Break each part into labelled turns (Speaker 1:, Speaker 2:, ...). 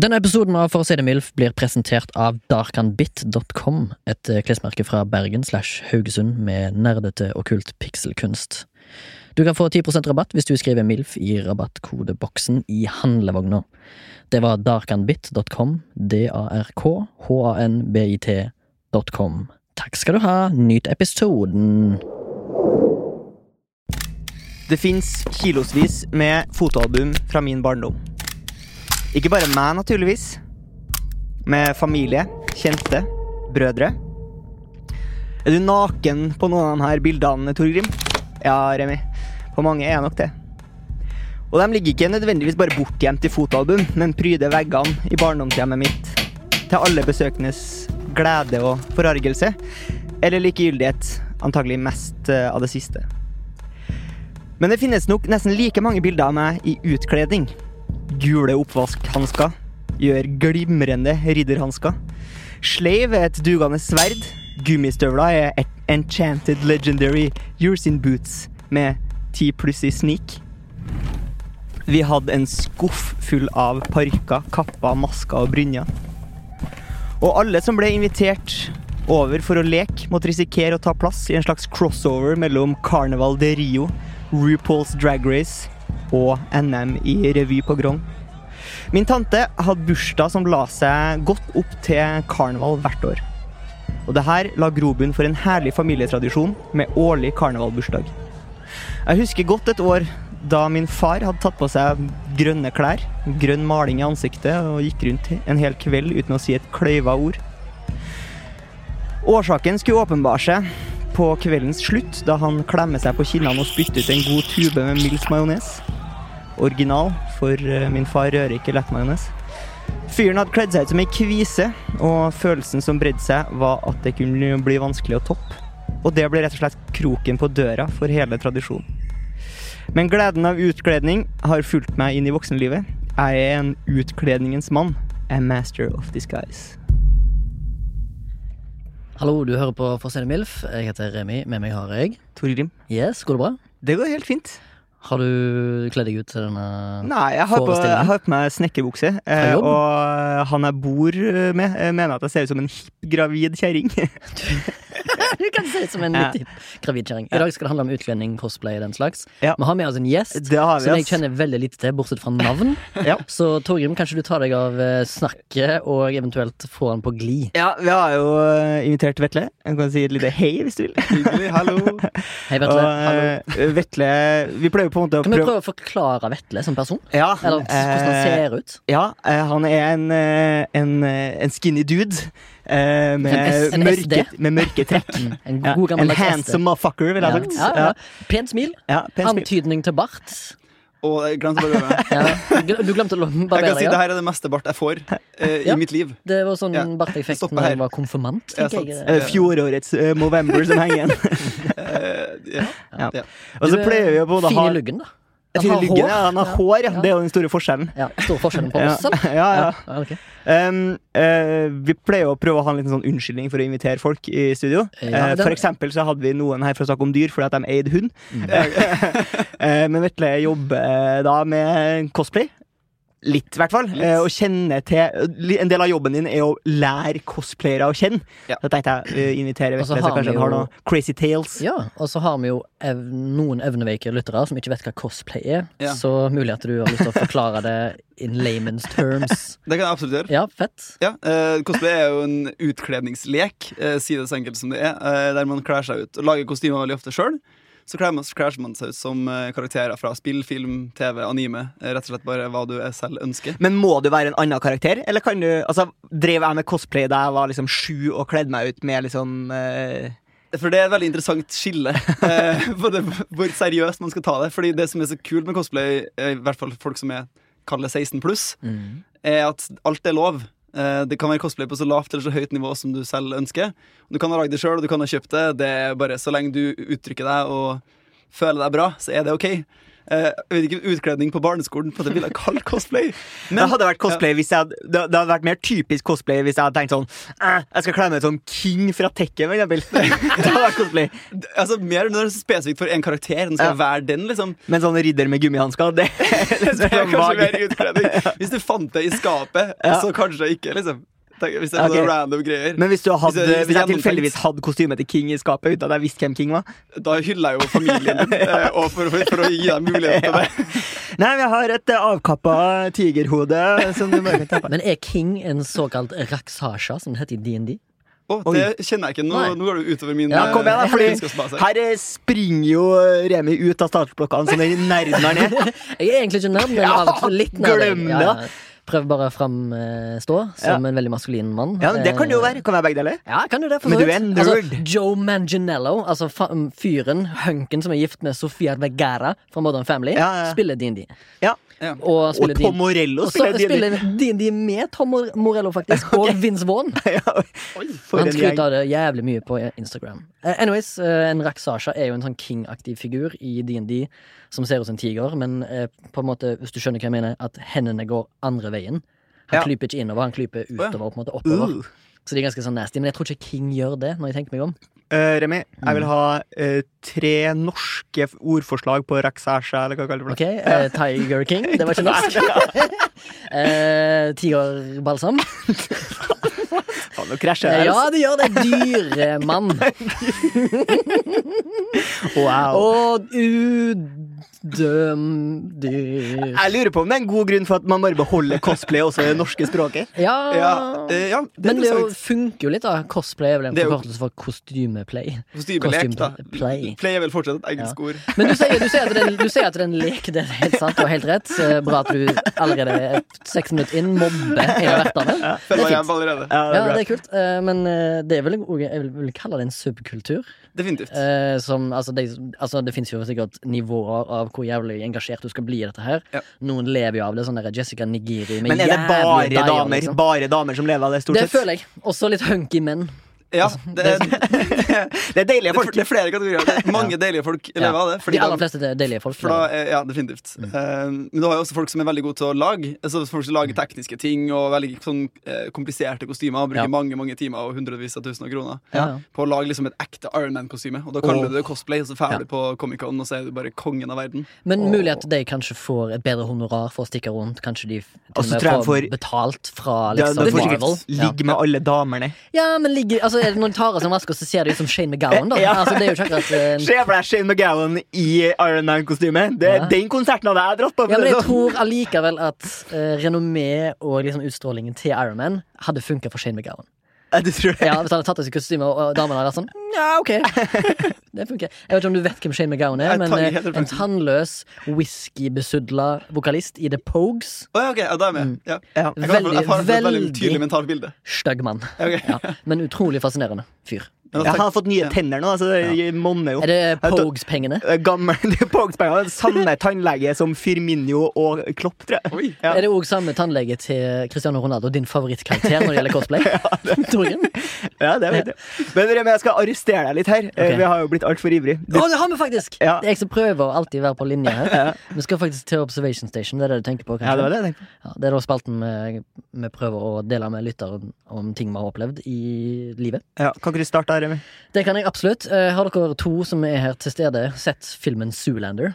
Speaker 1: Denne episoden av For å si det mildt blir presentert av darkanbit.com, et eh, klesmerke fra Bergen slash Haugesund med nerdete okkult pikselkunst. Du kan få 10 rabatt hvis du skriver MILF i rabattkodeboksen i handlevogna. Det var darkanbit.com, d-a-r-k-h-a-n-b-i-t.com. Takk skal du ha, nyt episoden!
Speaker 2: Det fins kilosvis med fotoalbum fra min barndom. Ikke bare meg, naturligvis. Med familie, kjente, brødre. Er du naken på noen av de her bildene, Torgrim? Ja, Remi. På mange er jeg nok det. Og de ligger ikke nødvendigvis bare bortgjemt i fotoalbum, men pryder veggene i barndomshjemmet mitt. Til alle besøkendes glede og forargelse. Eller likegyldighet. Antagelig mest eh, av det siste. Men det finnes nok nesten like mange bilder av meg i utkledning. Gule oppvaskhansker gjør glimrende ridderhansker. Slave er et dugende sverd. Gummistøvler er et enchanted legendary years in boots med 10 pluss i sneak. Vi hadde en skuff full av parykker, kapper, masker og brynjer. Og alle som ble invitert over for å leke, måtte risikere å ta plass i en slags crossover mellom Carnival de Rio, RuPaul's Drag Race og NM i revy på Grong. Min tante hadde bursdag som la seg godt opp til karneval hvert år. Og det her la grobunn for en herlig familietradisjon med årlig karnevalbursdag. Jeg husker godt et år da min far hadde tatt på seg grønne klær, grønn maling i ansiktet og gikk rundt en hel kveld uten å si et kløyva ord. Årsaken skulle åpenbare seg på kveldens slutt, da han klemmer seg på kinnene og spytter ut en god tube med Mills majones. Original, for eh, min far rører ikke lettmajones. Fyren hadde kledd seg ut som ei kvise, og følelsen som bredde seg, var at det kunne bli vanskelig å toppe. Og det ble rett og slett kroken på døra for hele tradisjonen. Men gleden av utkledning har fulgt meg inn i voksenlivet. Jeg er en utkledningens mann. A master of disguise.
Speaker 1: Hallo, du hører på For å si det mildt. Jeg heter Remi, med meg har jeg
Speaker 2: Torgrim,
Speaker 1: Yes, går det bra?
Speaker 2: det går helt fint.
Speaker 1: Har du kledd deg ut til denne
Speaker 2: Nei, jeg har på,
Speaker 1: Forestillingen?
Speaker 2: jeg har på meg snekkerbukse.
Speaker 1: Fra
Speaker 2: Eh,
Speaker 1: jobb?
Speaker 2: og han jeg bor med, eh, mener at jeg ser ut som en hipp, gravid kjerring.
Speaker 1: Du kan se ut som en
Speaker 2: Ja.
Speaker 1: litt gravid kjerring. I dag skal det handle om utkledning, cosplay og den slags.
Speaker 2: Ja.
Speaker 1: Vi har med oss en gjest
Speaker 2: Det har vi,
Speaker 1: som jeg
Speaker 2: ass.
Speaker 1: kjenner veldig lite til, bortsett fra navn.
Speaker 2: Ja.
Speaker 1: Så Torgrim, kanskje du tar deg av eh, snakket, og eventuelt få han på glid.
Speaker 2: Ja, vi har jo eh, invitert Vetle. Jeg kan si et lite hei hvis du vil.
Speaker 3: Hyggelig, hallo.
Speaker 1: Hei,
Speaker 2: Og
Speaker 1: Vetle. Hallo.
Speaker 2: eh, Vetle Vi pleier jo på en måte å
Speaker 1: Kan vi
Speaker 2: prøve
Speaker 1: prøve å forklare Vetle som person?
Speaker 2: Ja,
Speaker 1: Eller hvordan han
Speaker 2: eh,
Speaker 1: ser ut?
Speaker 2: ja, eh, han er en, eh, en, eh, en skinny dude eh, med,
Speaker 1: En S- en
Speaker 2: mørke, med mørke trekk.
Speaker 1: Mm. En
Speaker 2: Ja,
Speaker 1: god
Speaker 2: en
Speaker 1: gammeldags SD.
Speaker 2: handsome motherfucker, ville
Speaker 1: Ja.
Speaker 2: jeg sagt.
Speaker 1: Ja, ja. Pent smil.
Speaker 2: Ja, pen smil.
Speaker 1: Antydning til bart.
Speaker 3: Og jeg glemte å barbere meg.
Speaker 1: Ja. Du glemte å
Speaker 3: Jeg
Speaker 1: barbere
Speaker 3: kan si
Speaker 1: deg.
Speaker 3: det
Speaker 1: ja.
Speaker 3: her er det meste bart jeg får eh,
Speaker 1: Ja.
Speaker 3: i mitt liv.
Speaker 1: Det var sånn
Speaker 3: Ja.
Speaker 1: bart jeg fikk
Speaker 3: Stopper
Speaker 1: når
Speaker 3: her.
Speaker 1: jeg var konfirmant.
Speaker 3: Ja,
Speaker 1: tenker jeg.
Speaker 3: sant.
Speaker 2: Eh, Fjorårets eh, Movember som henger igjen.
Speaker 3: Eh, ja.
Speaker 2: Og så
Speaker 1: Du er
Speaker 2: pleier vi å både
Speaker 1: Fin
Speaker 2: ha
Speaker 1: i luggen, da. At
Speaker 2: Fin i
Speaker 1: han har
Speaker 2: luggen,
Speaker 1: hår.
Speaker 2: ja. Han har hår, ja. Det er jo den store forskjellen.
Speaker 1: Ja, Store forskjellen på
Speaker 2: Ja.
Speaker 1: oss, eller?
Speaker 2: Ja, ja.
Speaker 1: Ja, ok.
Speaker 2: Um, eh, vi pleier å prøve å ha en liten sånn unnskyldning for å invitere folk i studio.
Speaker 1: Ja,
Speaker 2: Eh,
Speaker 1: det- Mm.
Speaker 2: for eksempel så hadde vi noen her for å snakke om dyr fordi at de eide hund. Eh, men Vetle jobber eh, da med cosplay. Litt, i hvert fall.
Speaker 3: Litt.
Speaker 2: Eh, og kjenne til li- En del av jobben din er å lære cosplayere å kjenne.
Speaker 3: Ja.
Speaker 2: Da tenkte jeg eh, invitere
Speaker 1: Og så
Speaker 2: Vetle,
Speaker 1: har
Speaker 2: så kanskje
Speaker 1: vi
Speaker 2: han har
Speaker 1: jo-
Speaker 2: noen crazy tales.
Speaker 1: Ja, og så har vi jo ev noen evneveike lyttere som ikke vet hva cosplay er,
Speaker 3: Ja.
Speaker 1: så mulig at du har lyst til å forklare det in layman's terms.
Speaker 3: Det kan jeg absolutt gjøre.
Speaker 1: Ja, fett.
Speaker 3: Ja, eh, Cosplay er jo en utkledningslek, eh, si det så enkelt som det er, eh, der man kler seg ut og lager kostymer veldig ofte sjøl. Så kler man, kler man seg ut som eh, karakterer fra spill, film, TV, anime. eh, Rett og slett bare hva du eh, selv ønsker.
Speaker 2: Men må du være en annen karakter? Eller kan du, altså, Drev jeg med cosplay da jeg var liksom sju og kledde meg ut med liksom eh,
Speaker 3: For det er et veldig interessant skille eh, på det, hvor seriøst man skal ta det. Fordi det som er så kult med cosplay, eh, i hvert fall folk som er kaller 16 pluss,
Speaker 1: Mm.
Speaker 3: er at alt er lov. Eh, Det kan være cosplay på så lavt eller så høyt nivå som du selv ønsker. Du kan ha lagd det sjøl, og du kan ha kjøpt det. Det er bare Så lenge du uttrykker deg og føler deg bra, så er det OK. eh, jeg vet ikke, utkledning på barneskolen på det ville jeg kalt cosplay.
Speaker 2: det hadde vært cosplay hvis jeg hadde, det det hadde vært mer typisk cosplay hvis jeg hadde tenkt sånn «Eh, Jeg skal kle meg ut som King fra Tekken, for eksempel. det hadde vært cosplay.
Speaker 3: Altså, mer når det er så spesifikt for en karakter. Den skal
Speaker 2: Ja.
Speaker 3: være den, liksom.
Speaker 2: Men sånn ridder med gummihansker, det
Speaker 3: Det
Speaker 2: liksom,
Speaker 3: er
Speaker 2: er
Speaker 3: kanskje mer
Speaker 2: vage.
Speaker 3: utkledning. Hvis du fant det i skapet,
Speaker 2: Ja.
Speaker 3: så kanskje ikke, liksom. Tenk, Hvis det er
Speaker 2: Ok.
Speaker 3: sånne random greier.
Speaker 2: Men hvis, du hadde,
Speaker 3: Hvis det- hvis
Speaker 2: hvis
Speaker 3: det er
Speaker 2: jeg tilfeldigvis hadde kostymet til King i skapet uten at jeg visste hvem King var
Speaker 3: Da hyller jeg jo familien din, eh, og for, for, for å gi deg mulighet til det.
Speaker 2: Nei, vi har et eh, avkappa tigerhode som du bare kan ta på.
Speaker 1: Men er King en såkalt raksasha, som det heter i DND?
Speaker 3: Å, det kjenner jeg ikke. Nå,
Speaker 1: Nei.
Speaker 3: nå går du utover min
Speaker 2: Ja, kom igjen, da,
Speaker 3: eh,
Speaker 2: fordi
Speaker 3: kunnskapsbase.
Speaker 2: her eh, springer jo eh, Remi ut av startblokkene som den nerden han er.
Speaker 1: Jeg er egentlig ikke nerd, men
Speaker 2: Ja,
Speaker 1: av og til litt nerd.
Speaker 2: glem det.
Speaker 1: Ja, ja. prøver bare å framstå som en veldig maskulin mann.
Speaker 2: Ja, men Det kan det jo
Speaker 1: Eh,
Speaker 2: være. Kan være begge deler.
Speaker 1: Ja, kan du det, for
Speaker 2: Men
Speaker 1: så
Speaker 2: du er
Speaker 1: vidt.
Speaker 2: en
Speaker 1: Altså,
Speaker 2: nerd.
Speaker 1: Joe Manganiello, altså fa- um, fyren, hunken som er gift med Sofia Vergara fra Modern Family,
Speaker 2: Ja, ja, ja.
Speaker 1: spiller D&D.
Speaker 2: Ja.
Speaker 3: Ja.
Speaker 1: Og,
Speaker 2: Og
Speaker 1: spiller
Speaker 2: Tom
Speaker 1: D&D.
Speaker 2: Morello
Speaker 1: Og så
Speaker 2: spiller
Speaker 1: spiller
Speaker 2: D&D.
Speaker 1: D&D med Tom Mor- Morello, faktisk, og Vince Vaughn.
Speaker 2: Ja, for
Speaker 1: Han
Speaker 2: en gjeng.
Speaker 1: skryter av det jævlig mye på Instagram. Eh, Anyways, eh, en Raksasha er jo en sånn king-aktiv figur i DND som ser ut som en tiger, men eh, på en måte, hvis du skjønner hva jeg mener, at hendene går andre veien. Han
Speaker 2: Ja.
Speaker 1: klyper ikke innover, han klyper
Speaker 3: ja.
Speaker 1: utover, på en måte oppover.
Speaker 2: Uh.
Speaker 1: Så de er ganske sånn nasty. Men jeg tror ikke King gjør det, når jeg tenker meg om.
Speaker 2: Eh, Remi, jeg
Speaker 1: Mm.
Speaker 2: vil ha eh, tre norske f- ordforslag på raksasja, eller hva kaller du det?
Speaker 1: Ok, eh, Tiger King, det var ikke norsk. eh, Tigerbalsam.
Speaker 2: Faen, nå krasjer
Speaker 1: Eh,
Speaker 2: jeg.
Speaker 1: ja, det gjør det. Dyremann.
Speaker 2: Wow.
Speaker 1: Og udømdyr.
Speaker 2: Jeg lurer på om det er en god grunn for at man bare beholder cosplay også i det norske språket.
Speaker 3: Ja, eh, ja, det er
Speaker 1: Men det jo,
Speaker 3: interessant.
Speaker 1: funker jo litt, da. Cosplay er vel en
Speaker 3: Det er jo-
Speaker 1: forkortelse for kostymeplay.
Speaker 3: Kostymelek, da.
Speaker 1: Kostymeplay.
Speaker 3: Play er vel fortsatt et engelsk
Speaker 1: Ja.
Speaker 3: ord.
Speaker 1: Men du sier, du sier at det er en- du sier at det er en lek, det er helt sant, du har helt rett. Eh, Bra at du allerede er seks minutter inn mobber hele vertene.
Speaker 3: Føler meg
Speaker 1: fint.
Speaker 3: hjemme allerede.
Speaker 2: Ja, det er
Speaker 1: Ja,
Speaker 2: bra.
Speaker 1: det er kult, eh, men eh, det er vel, en- jeg vil- vil kalle det en subkultur.
Speaker 3: Definitivt.
Speaker 1: Eh, som, altså, det, altså, det finnes jo sikkert nivåer av hvor jævlig engasjert du skal bli i dette her.
Speaker 3: Ja.
Speaker 1: Noen lever jo av det, sånn der Jessica Nigiri med
Speaker 2: Men er det
Speaker 1: jævlig
Speaker 2: bare
Speaker 1: dial,
Speaker 2: damer,
Speaker 1: liksom.
Speaker 2: bare damer som lever av det, stort
Speaker 1: Det
Speaker 2: sett?
Speaker 1: føler jeg. Også litt hunky menn.
Speaker 3: Ja,
Speaker 1: altså,
Speaker 3: det er,
Speaker 1: sånn-
Speaker 3: det,
Speaker 2: Det er deilige
Speaker 3: er,
Speaker 2: folk.
Speaker 3: det er flere kategorier. Det er mange deilige folk lever av det.
Speaker 1: de aller
Speaker 3: de-
Speaker 1: fleste Mm. er deilige folk. liksom.
Speaker 3: For da, er- ja, definitivt. Eh, men du har jo også folk som er veldig gode til å lage. Altså folk som
Speaker 1: Mm.
Speaker 3: lager tekniske ting og veldig sånn, eh, kompliserte kostymer. Og bruker
Speaker 1: Ja.
Speaker 3: mange mange timer og hundrevis av tusen av kroner
Speaker 1: Ja, ja.
Speaker 3: på å lage liksom et ekte Ironman-kostyme. Og da kaller du det cosplay, og så drar du på Comic-Con, og så er du bare kongen av verden.
Speaker 1: Men mulig at de kanskje får et bedre honorar for å stikke rundt. Kanskje de f- til
Speaker 2: Og
Speaker 1: og
Speaker 2: så
Speaker 1: med
Speaker 2: Altså, tror
Speaker 1: får
Speaker 2: jeg for-
Speaker 1: betalt fra
Speaker 2: Ja,
Speaker 1: liksom,
Speaker 2: da får sikkert
Speaker 1: Marvel. Ja.
Speaker 2: Ligg med alle damene.
Speaker 1: ja, men ligger, altså, er det noen tar av seg en maske, og så ser det ut som Shane McGowan, da.
Speaker 2: Ja.
Speaker 1: Altså, det er jo ikke akkurat eh,
Speaker 2: Se for deg Shane McGowan i Iron Man-kostyme. Det er
Speaker 1: Ja.
Speaker 2: Den konserten hadde jeg dratt på. for
Speaker 1: ja, men
Speaker 2: å si
Speaker 1: jeg
Speaker 2: det
Speaker 1: tror
Speaker 2: sånn.
Speaker 1: allikevel at eh, renommé og liksom utstrålingen til Iron Man hadde funka for Shane McGowan.
Speaker 2: Ja, du tror det.
Speaker 1: Ja, Hvis han hadde tatt av seg kostymet, og, og damene hadde vært sånn Ja, ok. Det funker. Jeg vet ikke om du vet hvem Shane McGowan er,
Speaker 3: Jeg
Speaker 1: men
Speaker 3: tar
Speaker 1: eh,
Speaker 3: helt
Speaker 1: en
Speaker 3: referansen.
Speaker 1: tannløs, whiskybesudla vokalist i The Pogues.
Speaker 3: Å ja, ok, ja, da er jeg med. Ja.
Speaker 2: Ja.
Speaker 3: Jeg, kan, jeg har et
Speaker 1: Veldig,
Speaker 3: veldig
Speaker 1: veldig-
Speaker 3: tydelig mentalt bilde.
Speaker 1: Stygg mann.
Speaker 3: Ja, ok.
Speaker 1: Ja, men utrolig fascinerende fyr.
Speaker 3: Men
Speaker 2: Ja, han har
Speaker 3: altså,
Speaker 2: fått nye tenner nå, så det monner jo.
Speaker 1: Er det Pogues-pengene?
Speaker 2: Det er Eh, Gammel det er Pogspenger. Den samme tannlege som Firminio og Klopp, tror jeg.
Speaker 3: Oi.
Speaker 2: Ja.
Speaker 1: Er det òg samme tannlege til Cristiano Ronaldo, din favorittkarakter når det gjelder cosplay? Torgrim?
Speaker 2: Ja, det vet jeg. Men Remi, jeg skal arrestere deg litt her. Eh, Vi har jo blitt altfor ivrig.
Speaker 1: Å,
Speaker 2: Du,
Speaker 1: det har vi faktisk!
Speaker 2: Ja.
Speaker 1: Det er jeg som prøver å alltid være på linje
Speaker 2: Ja.
Speaker 1: her. Vi skal faktisk til Observation Station. Det er det du tenker på? kanskje?
Speaker 2: ja, det var det jeg tenkte.
Speaker 1: Ja, det er da spalten vi, vi prøver å dele med lytteren om ting vi har opplevd i livet.
Speaker 2: Ja, kan ikke du starte her, Remi?
Speaker 1: Det kan jeg absolutt. Eh, Har dere to som er her til stede, sett filmen Zoolander?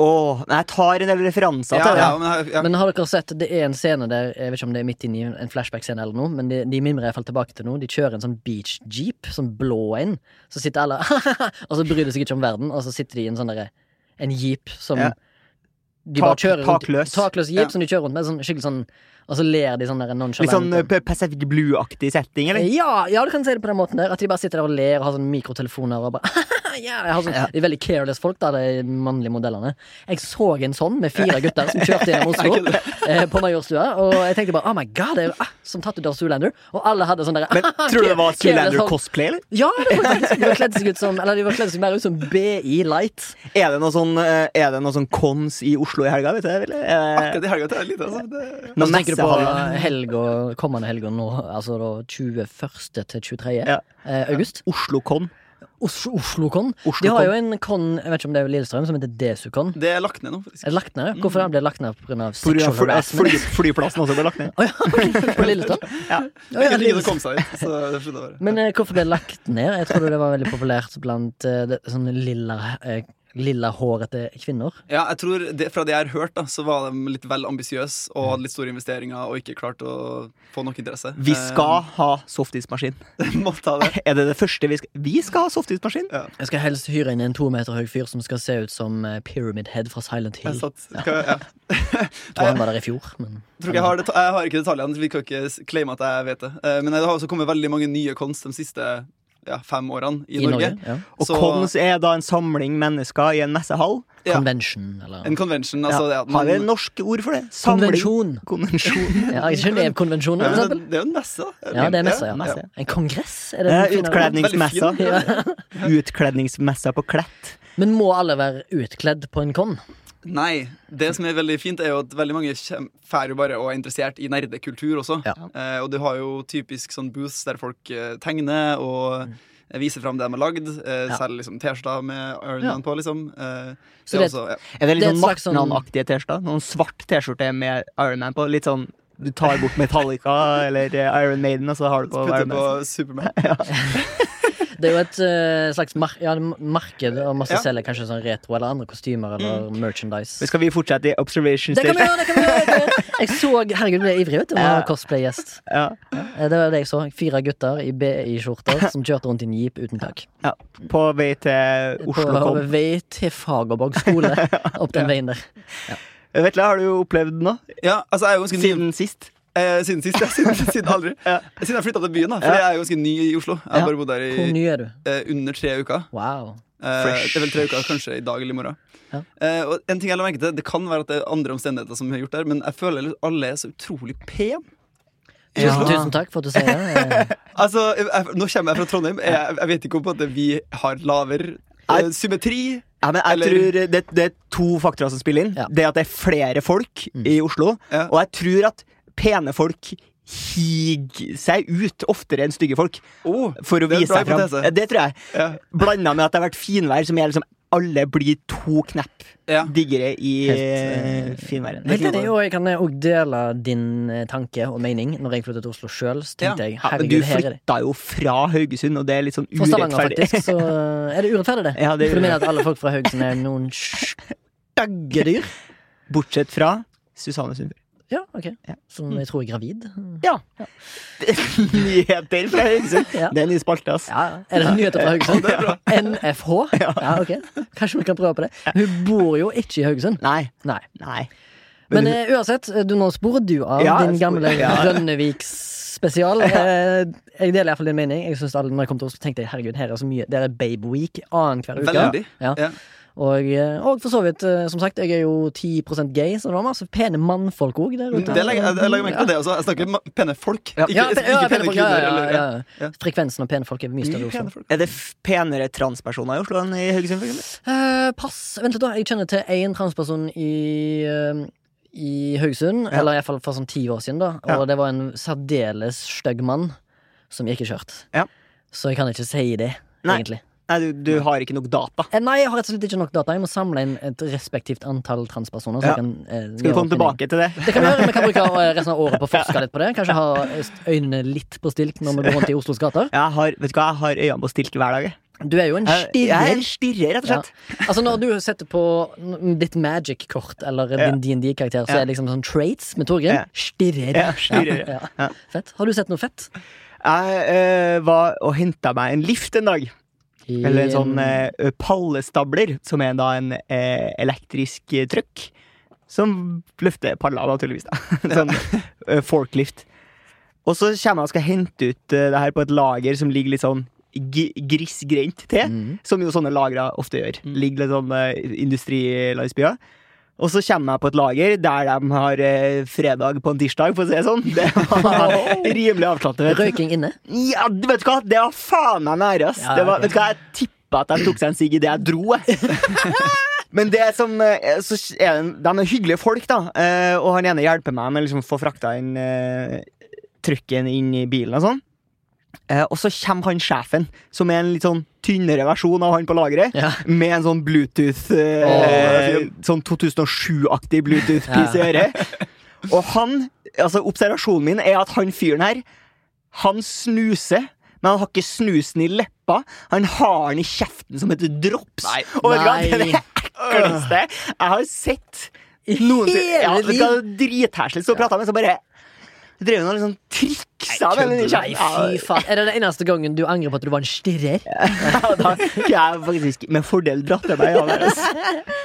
Speaker 2: Åh, nei, jeg tar en del referanser
Speaker 3: Ja,
Speaker 2: til det.
Speaker 3: ja, men, jeg- ja.
Speaker 1: Men har dere sett, det er en scene der Jeg vet ikke om det er midt inne i en flashback-scene eller noe Men de, de mimrer i hvert fall tilbake til noe De kjører en sånn beach jeep, sånn blå en Så sitter alle, og så bryr de seg ikke om verden Og så sitter de i en sånn der En jeep som
Speaker 2: Ja.
Speaker 1: de bare
Speaker 2: Tak-
Speaker 1: kjører rundt,
Speaker 2: takløs.
Speaker 1: Takløs jeep
Speaker 3: Ja.
Speaker 1: som de kjører rundt med sånn, Skikkelig sånn, og så ler de sånn der nonchalant
Speaker 2: Litt sånn eh, P- Pacific Blue-aktig setting, eller?
Speaker 1: ja, ja, du kan si det på den måten der At de bare sitter der og ler og har sånn mikrotelefoner og bare, ja, jeg har sånn, De er veldig careless folk da, de mannlige modellene Jeg så en sånn med fire gutter som kjørte gjennom Oslo eh, På Majorstua Og jeg tenkte bare, oh my god, det er jo ah, som tatt ut av Zoolander Og alle hadde sånn der
Speaker 2: Men tror du det var
Speaker 1: careless folk.
Speaker 2: Zoolander-cosplay, eller?
Speaker 1: Ja, det var faktisk, de var kledd seg ut som Eller de var kledd seg mer ut som BI Light
Speaker 2: Er det noe sånn, eh, er det noe sånn cons i Oslo i helga, vet du? Eller? Eh,
Speaker 3: Akkurat i helga tar jeg litt, altså. Det,
Speaker 1: Og så tenker du på
Speaker 2: messehallen.
Speaker 1: helg og kommende helg og nå Altså da 21. til 23.
Speaker 2: Ja.
Speaker 1: Eh, august
Speaker 2: Oslo-con.
Speaker 1: Os- Oslokon.
Speaker 3: Oslo
Speaker 1: De har jo en con, jeg vet ikke om det er Lillestrøm, som heter Desukon.
Speaker 3: Det er lagt ned nå, faktisk.
Speaker 1: Er det lagt ned? ja? Hvorfor har det blitt lagt ned? På grunn av
Speaker 2: Hvor
Speaker 1: sexual
Speaker 2: fly-
Speaker 1: harassment?
Speaker 2: fly- flyplassen også ble lagt ned.
Speaker 1: Å ja, på Lillestrøm?
Speaker 2: Ja.
Speaker 1: Å ja,
Speaker 3: Ikke tid å
Speaker 1: Lillestrøm.
Speaker 3: komme seg dit. Så det slutta bare.
Speaker 1: Men eh, hvorfor ble det lagt ned? Jeg trodde det var veldig populært blant eh, det- sånne lilla, eh, lilla hårete kvinner.
Speaker 3: Ja, jeg tror det, Fra det jeg har hørt, da, så var de litt vel ambisiøse og hadde litt store investeringer og ikke klart å få nok interesse.
Speaker 2: Vi skal ha softismaskin.
Speaker 3: eh, Må ta det.
Speaker 2: Er det det første vi skal Vi skal ha softismaskin!
Speaker 1: Jeg skal helst hyre inn en to meter høy fyr som skal se ut som eh, Pyramid Head fra Silent
Speaker 3: Jeg
Speaker 1: Hill. Jeg
Speaker 3: satt, skal, ja.
Speaker 1: tror han var der i fjor, men
Speaker 3: tror ikke jeg, har det, jeg har ikke detaljene, så vi kan ikke s- claime at jeg vet det. Eh, Men det har også kommet veldig mange nye cons de siste ja, fem årene i, Norge.
Speaker 1: ja.
Speaker 2: Og
Speaker 3: Så-
Speaker 2: cons er da en samling mennesker i en messehall.
Speaker 3: Ja.
Speaker 1: Convention, eller
Speaker 3: En convention. Altså, det
Speaker 2: ja.
Speaker 3: at
Speaker 2: Har
Speaker 3: man,
Speaker 2: vi et norsk ord for det? Samling.
Speaker 1: Konvensjon!
Speaker 2: Konvensjon.
Speaker 1: Ja, Genève-konvensjonen,
Speaker 3: Ja,
Speaker 1: for
Speaker 3: men
Speaker 1: eksempel.
Speaker 3: det, det er jo en messe, da.
Speaker 1: Ja, det er messa, ja.
Speaker 2: messe.
Speaker 1: En kongress? Er det
Speaker 2: Eh,
Speaker 1: den finere?
Speaker 2: Utkledningsmessa.
Speaker 3: Veldig
Speaker 2: Utkledningsmessa på Klett.
Speaker 1: Men må alle være utkledd på en con?
Speaker 3: Nei. Det som er veldig fint, er jo at veldig mange kjem- fær jo bare og er interessert i nerdekultur også.
Speaker 1: Ja.
Speaker 3: Eh, og du har jo typisk sånn booths der folk eh, tegner og eh, viser fram det de har lagd. Eh,
Speaker 1: Mm. Ja.
Speaker 3: Selger liksom T-skjorter med Iron
Speaker 1: Ja.
Speaker 3: Man på, liksom. Eh,
Speaker 1: Så
Speaker 3: det
Speaker 1: det-
Speaker 3: er også, ja.
Speaker 2: Er det litt
Speaker 1: Det er
Speaker 2: sånn
Speaker 1: et slags sånn-
Speaker 2: Martnan-aktige T-skjorter? Noen svart T-skjorte med Iron Man på? Litt sånn du tar bort Metallica eller eh, Iron Maiden, og så har du på
Speaker 3: Putter
Speaker 2: Iron
Speaker 3: på
Speaker 2: Man.
Speaker 3: Superman.
Speaker 1: Det er jo et eh, slags mar ja, marked og masse
Speaker 3: Ja.
Speaker 1: selger kanskje sånn retro eller andre kostymer eller merchandise.
Speaker 2: Men skal vi fortsette i observation
Speaker 1: Det kan vi gjøre!
Speaker 2: station?
Speaker 1: det kan vi gjøre, det kan vi gjøre Jeg så, Herregud, ble jeg ivrig vet du, med å ha
Speaker 2: Ja.
Speaker 1: cosplay-gjest.
Speaker 2: Ja.
Speaker 1: Eh, Det var det jeg så. Fire gutter i BI-skjorter som kjørte rundt i en jeep uten tak.
Speaker 2: ja. På vei til Oslo
Speaker 1: På
Speaker 2: kom.
Speaker 1: vei til Fagerborg skole. Opp den veien der.
Speaker 2: Vetle, har du opplevd noe
Speaker 3: Ja, altså jeg er jo ganske ny
Speaker 2: siden sist?
Speaker 3: eh, Siden sist, ja. Siden, siden aldri.
Speaker 2: Ja.
Speaker 3: Siden jeg flytta til byen, da. For
Speaker 2: Ja.
Speaker 3: jeg er jo ganske ny i Oslo. Jeg
Speaker 1: Ja.
Speaker 3: har bare bodd her
Speaker 1: Hvor
Speaker 3: i
Speaker 1: ny er du?
Speaker 3: eh, under tre uker.
Speaker 1: Wow.
Speaker 3: Eh,
Speaker 2: Fresh.
Speaker 3: det er vel tre uker, kanskje i dag eller i morgen.
Speaker 1: Ja.
Speaker 3: Eh, og en ting jeg la merke til, Det kan være at det er andre omstendigheter som har gjort det, men jeg føler at alle er så utrolig pene.
Speaker 1: Tusen,
Speaker 2: Ja.
Speaker 1: tusen takk for at du sier det. Eh,
Speaker 3: Altså, jeg, jeg, nå kommer jeg fra Trondheim. Jeg, jeg vet ikke om på en måte vi har lavere
Speaker 2: Nei.
Speaker 3: eh, symmetri.
Speaker 2: Ja, men jeg
Speaker 3: Eller-
Speaker 2: tror det, det er to faktorer som spiller inn.
Speaker 1: Ja.
Speaker 2: Det at det er flere folk i Oslo.
Speaker 3: Mm. Ja.
Speaker 2: Og jeg tror at pene folk higer seg ut oftere enn stygge folk.
Speaker 3: Oh,
Speaker 2: For å
Speaker 3: Det er en
Speaker 2: vise seg
Speaker 3: bra
Speaker 2: fram.
Speaker 3: hypotese.
Speaker 2: Ja, Det tror jeg.
Speaker 3: ja.
Speaker 2: Blanda med at det har vært finvær, som gjør liksom alle blir to knepp
Speaker 3: Ja.
Speaker 2: diggere i
Speaker 1: Helt, eh,
Speaker 2: eh, finværet.
Speaker 1: Helt enig, og jeg kan òg dele din eh, tanke og mening. Når jeg flyttet til Oslo sjøl,
Speaker 3: Ja.
Speaker 1: tenkte jeg
Speaker 2: Ja, men du
Speaker 1: herregud, her er det
Speaker 2: flytta jo fra Haugesund, og det er litt sånn
Speaker 1: Fra Stavanger,
Speaker 2: urettferdig.
Speaker 1: faktisk, så eh, er det urettferdig, det.
Speaker 2: Ja, det er
Speaker 1: For du mener at alle folk fra Haugesund er noen stygge dyr?
Speaker 2: Bortsett fra Susanne Sundby.
Speaker 1: Ja, ok.
Speaker 2: Ja.
Speaker 1: Som jeg tror er gravid.
Speaker 2: Ja. Nyheter fra Haugesund.
Speaker 1: Ja.
Speaker 2: Det er en ny spalte, ass.
Speaker 1: Ja, ja. Er det nyheter fra Haugesund?
Speaker 3: Det er bra.
Speaker 1: NFH? Ja, ok. Kanskje vi kan prøve på det. Men hun bor jo ikke i Haugesund.
Speaker 2: Nei.
Speaker 1: Nei.
Speaker 2: Nei.
Speaker 1: Men
Speaker 2: Men-
Speaker 1: eh, uansett, eh, du, nå sporer du av
Speaker 2: Ja,
Speaker 1: din
Speaker 2: jeg sporer-
Speaker 1: gamle
Speaker 2: ja.
Speaker 1: Rønneviks-spesial. Eh, jeg deler iallfall din mening. Jeg synes alle, når jeg kom til Oslo, tenkte jeg herregud, her er så mye. Det er Babe Week annenhver uke.
Speaker 3: Veldig.
Speaker 1: Ja.
Speaker 3: Ja.
Speaker 1: Og, eh, og for så vidt, eh, som sagt, jeg er jo 10 gay, så det var masse pene mannfolk òg der ute.
Speaker 3: Det legger, jeg, jeg legger merke til det også. Jeg snakker om pene folk, ikke,
Speaker 1: Ja, pe- ja,
Speaker 3: ikke pene
Speaker 1: folk, ja,
Speaker 3: kvinner.
Speaker 1: ja,
Speaker 3: eller-
Speaker 1: ja, ja. Frekvensen av pene folk er mye større i
Speaker 3: Mye
Speaker 1: Oslo.
Speaker 3: pene folk.
Speaker 2: Er det f- penere transpersoner i Oslo enn i Haugesund? For eksempel?
Speaker 1: Eh, pass. Vent litt, da. Jeg kjenner til én transperson i eh, i Haugesund,
Speaker 2: Ja.
Speaker 1: eller iallfall for sånn ti år siden, da. Og
Speaker 2: Ja.
Speaker 1: det var en særdeles stygg mann som gikk i skjørt.
Speaker 2: Ja.
Speaker 1: Så jeg kan ikke si det,
Speaker 2: Nei.
Speaker 1: egentlig.
Speaker 2: Nei, du, du har ikke nok data.
Speaker 1: Eh, Nei, jeg har rett og slett ikke nok data. Jeg må samle inn et respektivt antall transpersoner. Så
Speaker 2: Ja.
Speaker 1: jeg kan, eh,
Speaker 2: Skal
Speaker 1: gjøre
Speaker 2: vi komme
Speaker 1: opp min-
Speaker 2: tilbake til det?
Speaker 1: Det kan vi gjøre. Vi kan bruke eh, resten av året på å forske litt på det. Kanskje ha øynene litt på stilk når vi går rundt i Oslos gater.
Speaker 2: Jeg har, vet du hva, jeg har øynene på stilt hver dag. jeg.
Speaker 1: Du er jo en
Speaker 2: Eh, Jeg, jeg er
Speaker 1: stirrer.
Speaker 2: en stirrer, rett og
Speaker 1: Ja.
Speaker 2: slett.
Speaker 1: Altså Når du setter på n- ditt magic-kort eller
Speaker 2: Ja.
Speaker 1: din DND-karakter, så
Speaker 2: Ja.
Speaker 1: er det liksom sånn traits med Torgrim.
Speaker 2: Ja.
Speaker 1: Stirrer.
Speaker 2: Ja, stirrer,
Speaker 1: Ja, ja.
Speaker 2: Ja.
Speaker 1: Fett. Har du sett noe fett?
Speaker 2: Jeg eh, var og henta meg en lift en dag.
Speaker 1: I,
Speaker 2: Eller en sånn eh, pallestabler, som er da en eh, elektrisk eh, trøkk. Som løfter paller, naturligvis. da Sånn eh, forklift. Og så kommer jeg og skal hente ut eh, det her på et lager som ligger litt sånn gi- grisgrendt til.
Speaker 1: Mm.
Speaker 2: Som jo sånne lagre ofte gjør. Ligger litt sånn eh, industrilandsbyer. Og så kommer jeg på et lager der de har eh, fredag på en tirsdag, for å si det sånn. Det var rimelig avslappet.
Speaker 1: Røyking inne?
Speaker 2: Ja, du vet du hva? Det var faen meg nære, ass.
Speaker 1: Ja,
Speaker 2: det
Speaker 1: ok.
Speaker 2: var, vet du hva? Jeg tippa at de tok seg en sigg idet jeg dro. Jeg. Men det som, eh, så er det, de er hyggelige folk, da. eh, Og han ene hjelper meg med å liksom, få frakta inn eh, trykken inn i bilen og sånn. Eh, og så kommer han sjefen, som er en litt sånn tynnere versjon av han på lageret.
Speaker 1: Ja.
Speaker 2: Med en sånn Bluetooth eh,
Speaker 1: Åh, det er
Speaker 2: Sånn 2007-aktig Bluetooth-pis i øret. Og han, altså observasjonen min er at han fyren her, han snuser. Men han har ikke snusen i leppa. Han har den i kjeften som et drops.
Speaker 3: Nei.
Speaker 2: og vet du hva?
Speaker 1: Nei.
Speaker 2: det er det ekleste jeg har sett.
Speaker 1: I hele
Speaker 2: ja, vet du hva,
Speaker 1: liv.
Speaker 2: Drithæslig. Så prata med, så bare Drev hun og liksom triksa med den i
Speaker 1: Nei,
Speaker 2: kjeften.
Speaker 1: fy faen. Er det den eneste gangen du angrer på at du var en stirrer?
Speaker 2: Ja, da kunne jeg faktisk med fordel dratt til meg. Ja,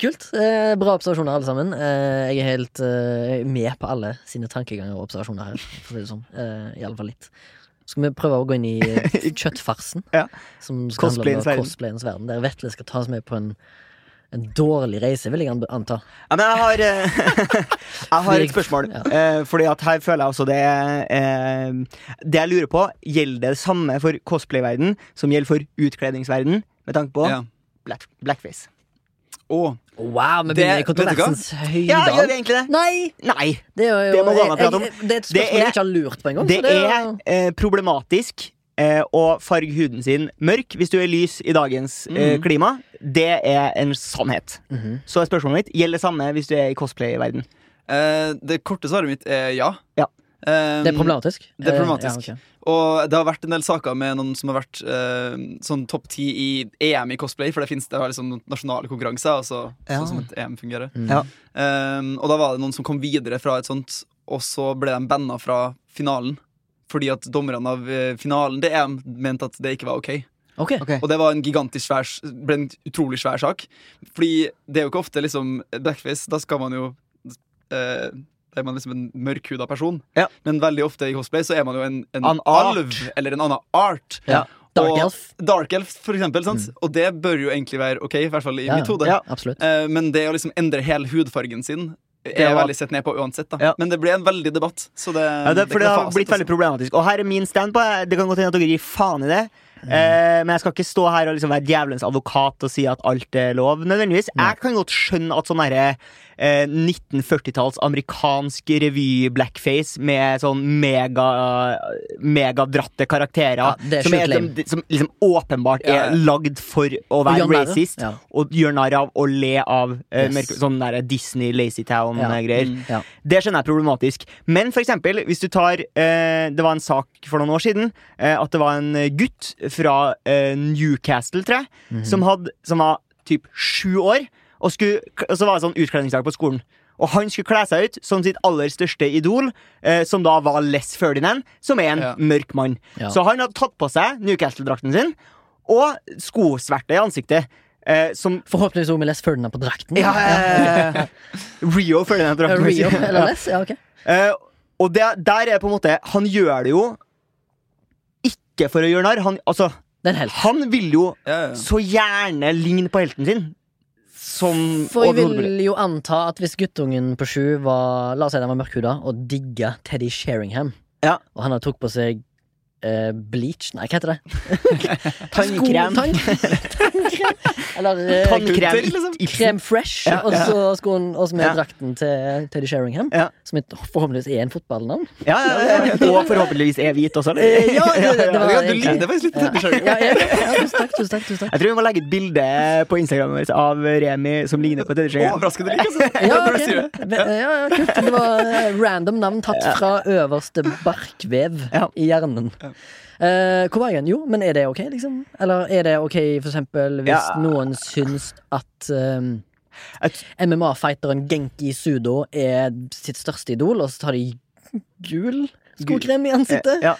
Speaker 1: Kult. Eh, bra observasjoner, alle sammen. Eh, jeg er helt eh, med på alle sine tankeganger og observasjoner her. For å si det sånn. eh, i alle fall litt. Skal vi prøve å gå inn i eh, kjøttfarsen?
Speaker 2: Ja.
Speaker 1: Som skal handle
Speaker 2: Cosplayens
Speaker 1: om
Speaker 2: verden.
Speaker 1: cosplayens verden. Der Vetle skal tas med på en, en dårlig reise, vil jeg an- anta.
Speaker 2: men jeg har, eh, jeg har et spørsmål.
Speaker 1: Ja.
Speaker 2: Eh, Fordi at her føler jeg også det eh, Det jeg lurer på, gjelder det samme for cosplay-verden som gjelder for utkledningsverden med tanke på
Speaker 3: Ja.
Speaker 2: black, blackface?
Speaker 3: Og
Speaker 1: Wow, vi
Speaker 3: Det-
Speaker 1: begynner i
Speaker 3: vet du hva?
Speaker 1: kontroversens
Speaker 2: Ja, gjør vi
Speaker 1: høydal.
Speaker 2: egentlig det?
Speaker 1: Nei!
Speaker 2: Nei.
Speaker 1: Det er, jo,
Speaker 2: Det må gå an
Speaker 1: jeg,
Speaker 2: å prate om.
Speaker 1: jeg, det er et
Speaker 2: Det
Speaker 1: spørsmål
Speaker 2: er-
Speaker 1: jeg ikke har lurt på engang.
Speaker 2: Det
Speaker 1: så det er
Speaker 2: er eh, problematisk eh, å farge huden sin mørk hvis du er lys i dagens
Speaker 1: Mm.
Speaker 2: eh, klima. Det er en sannhet.
Speaker 1: Mhm.
Speaker 2: Så er spørsmålet mitt gjelder det samme hvis du er i cosplay-verden.
Speaker 3: eh, det korte svaret mitt er ja.
Speaker 2: Ja.
Speaker 3: Eh,
Speaker 1: Det er problematisk.
Speaker 3: Det er
Speaker 1: Eh,
Speaker 3: problematisk.
Speaker 1: ja, ok.
Speaker 3: Og det har vært en del saker med noen som har vært eh, sånn topp ti i EM i cosplay, for det fins liksom noen nasjonale konkurranser, altså
Speaker 2: Ja.
Speaker 3: sånn som et EM fungerer.
Speaker 1: Mm.
Speaker 2: Ja.
Speaker 3: Um, og da var det noen som kom videre fra et sånt, og så ble de banna fra finalen. Fordi at dommerne av eh, finalen det EM mente at det ikke var OK.
Speaker 1: Ok.
Speaker 2: Ok.
Speaker 3: Og det var en gigantisk svær, s- ble en utrolig svær sak. Fordi det er jo ikke ofte liksom blackface. Da skal man jo eh, Da er man liksom en mørkhuda person.
Speaker 2: Ja.
Speaker 3: Men veldig ofte i cosplay så er man jo en, en
Speaker 2: An art.
Speaker 3: alv eller en annen art.
Speaker 1: Ja. Dark
Speaker 3: Og-
Speaker 1: Elf.
Speaker 3: Dark elf, for eksempel. Sant? Og det bør jo egentlig være OK, i hvert fall i
Speaker 1: Ja,
Speaker 3: mitt hode.
Speaker 2: Mm. Ja.
Speaker 1: Absolutt.
Speaker 3: Eh, Men det å liksom endre hele hudfargen sin er
Speaker 2: Det var-
Speaker 3: veldig sett ned på uansett. da
Speaker 2: Ja.
Speaker 3: Men det ble en veldig debatt. Så det,
Speaker 2: Ja, det, for det
Speaker 3: kan
Speaker 2: har
Speaker 3: fasit,
Speaker 2: blitt veldig
Speaker 3: altså.
Speaker 2: problematisk. Og her er min stand på eh, det. Det kan godt hende at dere gir faen i det. Eh, men jeg skal ikke stå her og liksom være djevelens advokat og si at alt er lov. Nødvendigvis Jeg kan godt skjønne at sånn herre eh, 1940-talls amerikansk revy-blackface med sånn mega megadratte karakterer
Speaker 1: Ja, det er
Speaker 2: som,
Speaker 1: sjukt
Speaker 2: som,
Speaker 1: lame.
Speaker 2: som liksom åpenbart
Speaker 3: Ja, ja.
Speaker 2: er lagd for å være
Speaker 1: gjøre narr av,
Speaker 2: racist
Speaker 1: ja.
Speaker 2: og gjøre narr av og le av eh,
Speaker 1: Yes.
Speaker 2: mørke, sånn der Disney Lazy
Speaker 1: Ja.
Speaker 2: Town-greier.
Speaker 1: Mm. Ja.
Speaker 2: Det skjønner jeg er problematisk. Men for eksempel, hvis du tar eh, Det var en sak for noen år siden eh, at det var en eh, gutt fra eh, Newcastle, tror jeg, som, hadde, som var typ sju år, og, skulle, og så var det sånn utkledningsdag på skolen. Og han skulle kle seg ut som sitt aller største idol, eh, som da var Les Ferdinand, som er en
Speaker 3: Ja.
Speaker 2: mørk mann.
Speaker 1: Ja.
Speaker 2: Så han hadde tatt på seg Newcastle-drakten sin og skosverte i ansiktet. Eh, som
Speaker 1: Forhåpentligvis også med Les Ferdinand på drakten.
Speaker 2: ja, eh, Rio Ferdinand-drakten.
Speaker 1: Rio eller Les? Ja, ok.
Speaker 2: Eh, og det, der er på en måte Han gjør det jo ikke for å gjøre narr. Han, altså,
Speaker 1: Det er en helt.
Speaker 2: han vil jo
Speaker 3: Ja, ja.
Speaker 2: så gjerne ligne på helten sin. Som
Speaker 1: For jeg
Speaker 2: overhodet mulig.
Speaker 1: vil jo anta at hvis guttungen på sju var La oss si den var mørkhuda og digga Teddy Sheringham,
Speaker 2: Ja.
Speaker 1: og han hadde tok på seg eh, bleach Nei, hva heter det?
Speaker 2: Tannkrem.
Speaker 1: Sko- Tannkrem. Eller eh,
Speaker 2: Tannkrem.
Speaker 3: Gutter, liksom.
Speaker 1: Krem Fresh,
Speaker 2: Ja,
Speaker 1: og
Speaker 2: ja.
Speaker 1: så skoen og så med
Speaker 2: Ja.
Speaker 1: drakten til Teddy Sheringham.
Speaker 2: Ja.
Speaker 1: Som et, forhåpentligvis er en fotballnavn.
Speaker 2: Ja, ja, ja. Og forhåpentligvis er hvit også.
Speaker 1: Eh, ja, det- det var
Speaker 3: Ja, du
Speaker 1: egentlig-
Speaker 3: liker det faktisk litt.
Speaker 1: Ja.
Speaker 3: Petter Schaugen.
Speaker 1: Ja, ja, ja, tusen takk, tusen takk, tusen takk.
Speaker 2: Jeg tror vi må legge et bilde på Instagram vår av Remi som ligner på Teddy Skjegge.
Speaker 3: Overraskende lik, altså.
Speaker 1: Ja,
Speaker 3: Det er
Speaker 1: ok.
Speaker 3: det du sier.
Speaker 1: Ve- ja, ja, kult. Det var eh, random navn tatt fra øverste barkvev
Speaker 2: Ja.
Speaker 1: i hjernen. Eh, hvor var jeg igjen? Jo, men er det ok, liksom? Eller er det ok for eksempel hvis
Speaker 2: Ja.
Speaker 1: noen syns at eh,
Speaker 2: Et-
Speaker 1: MMA-fighteren Genki Sudo er sitt største idol, og så tar de gul skokrem i ansiktet?
Speaker 2: Ja.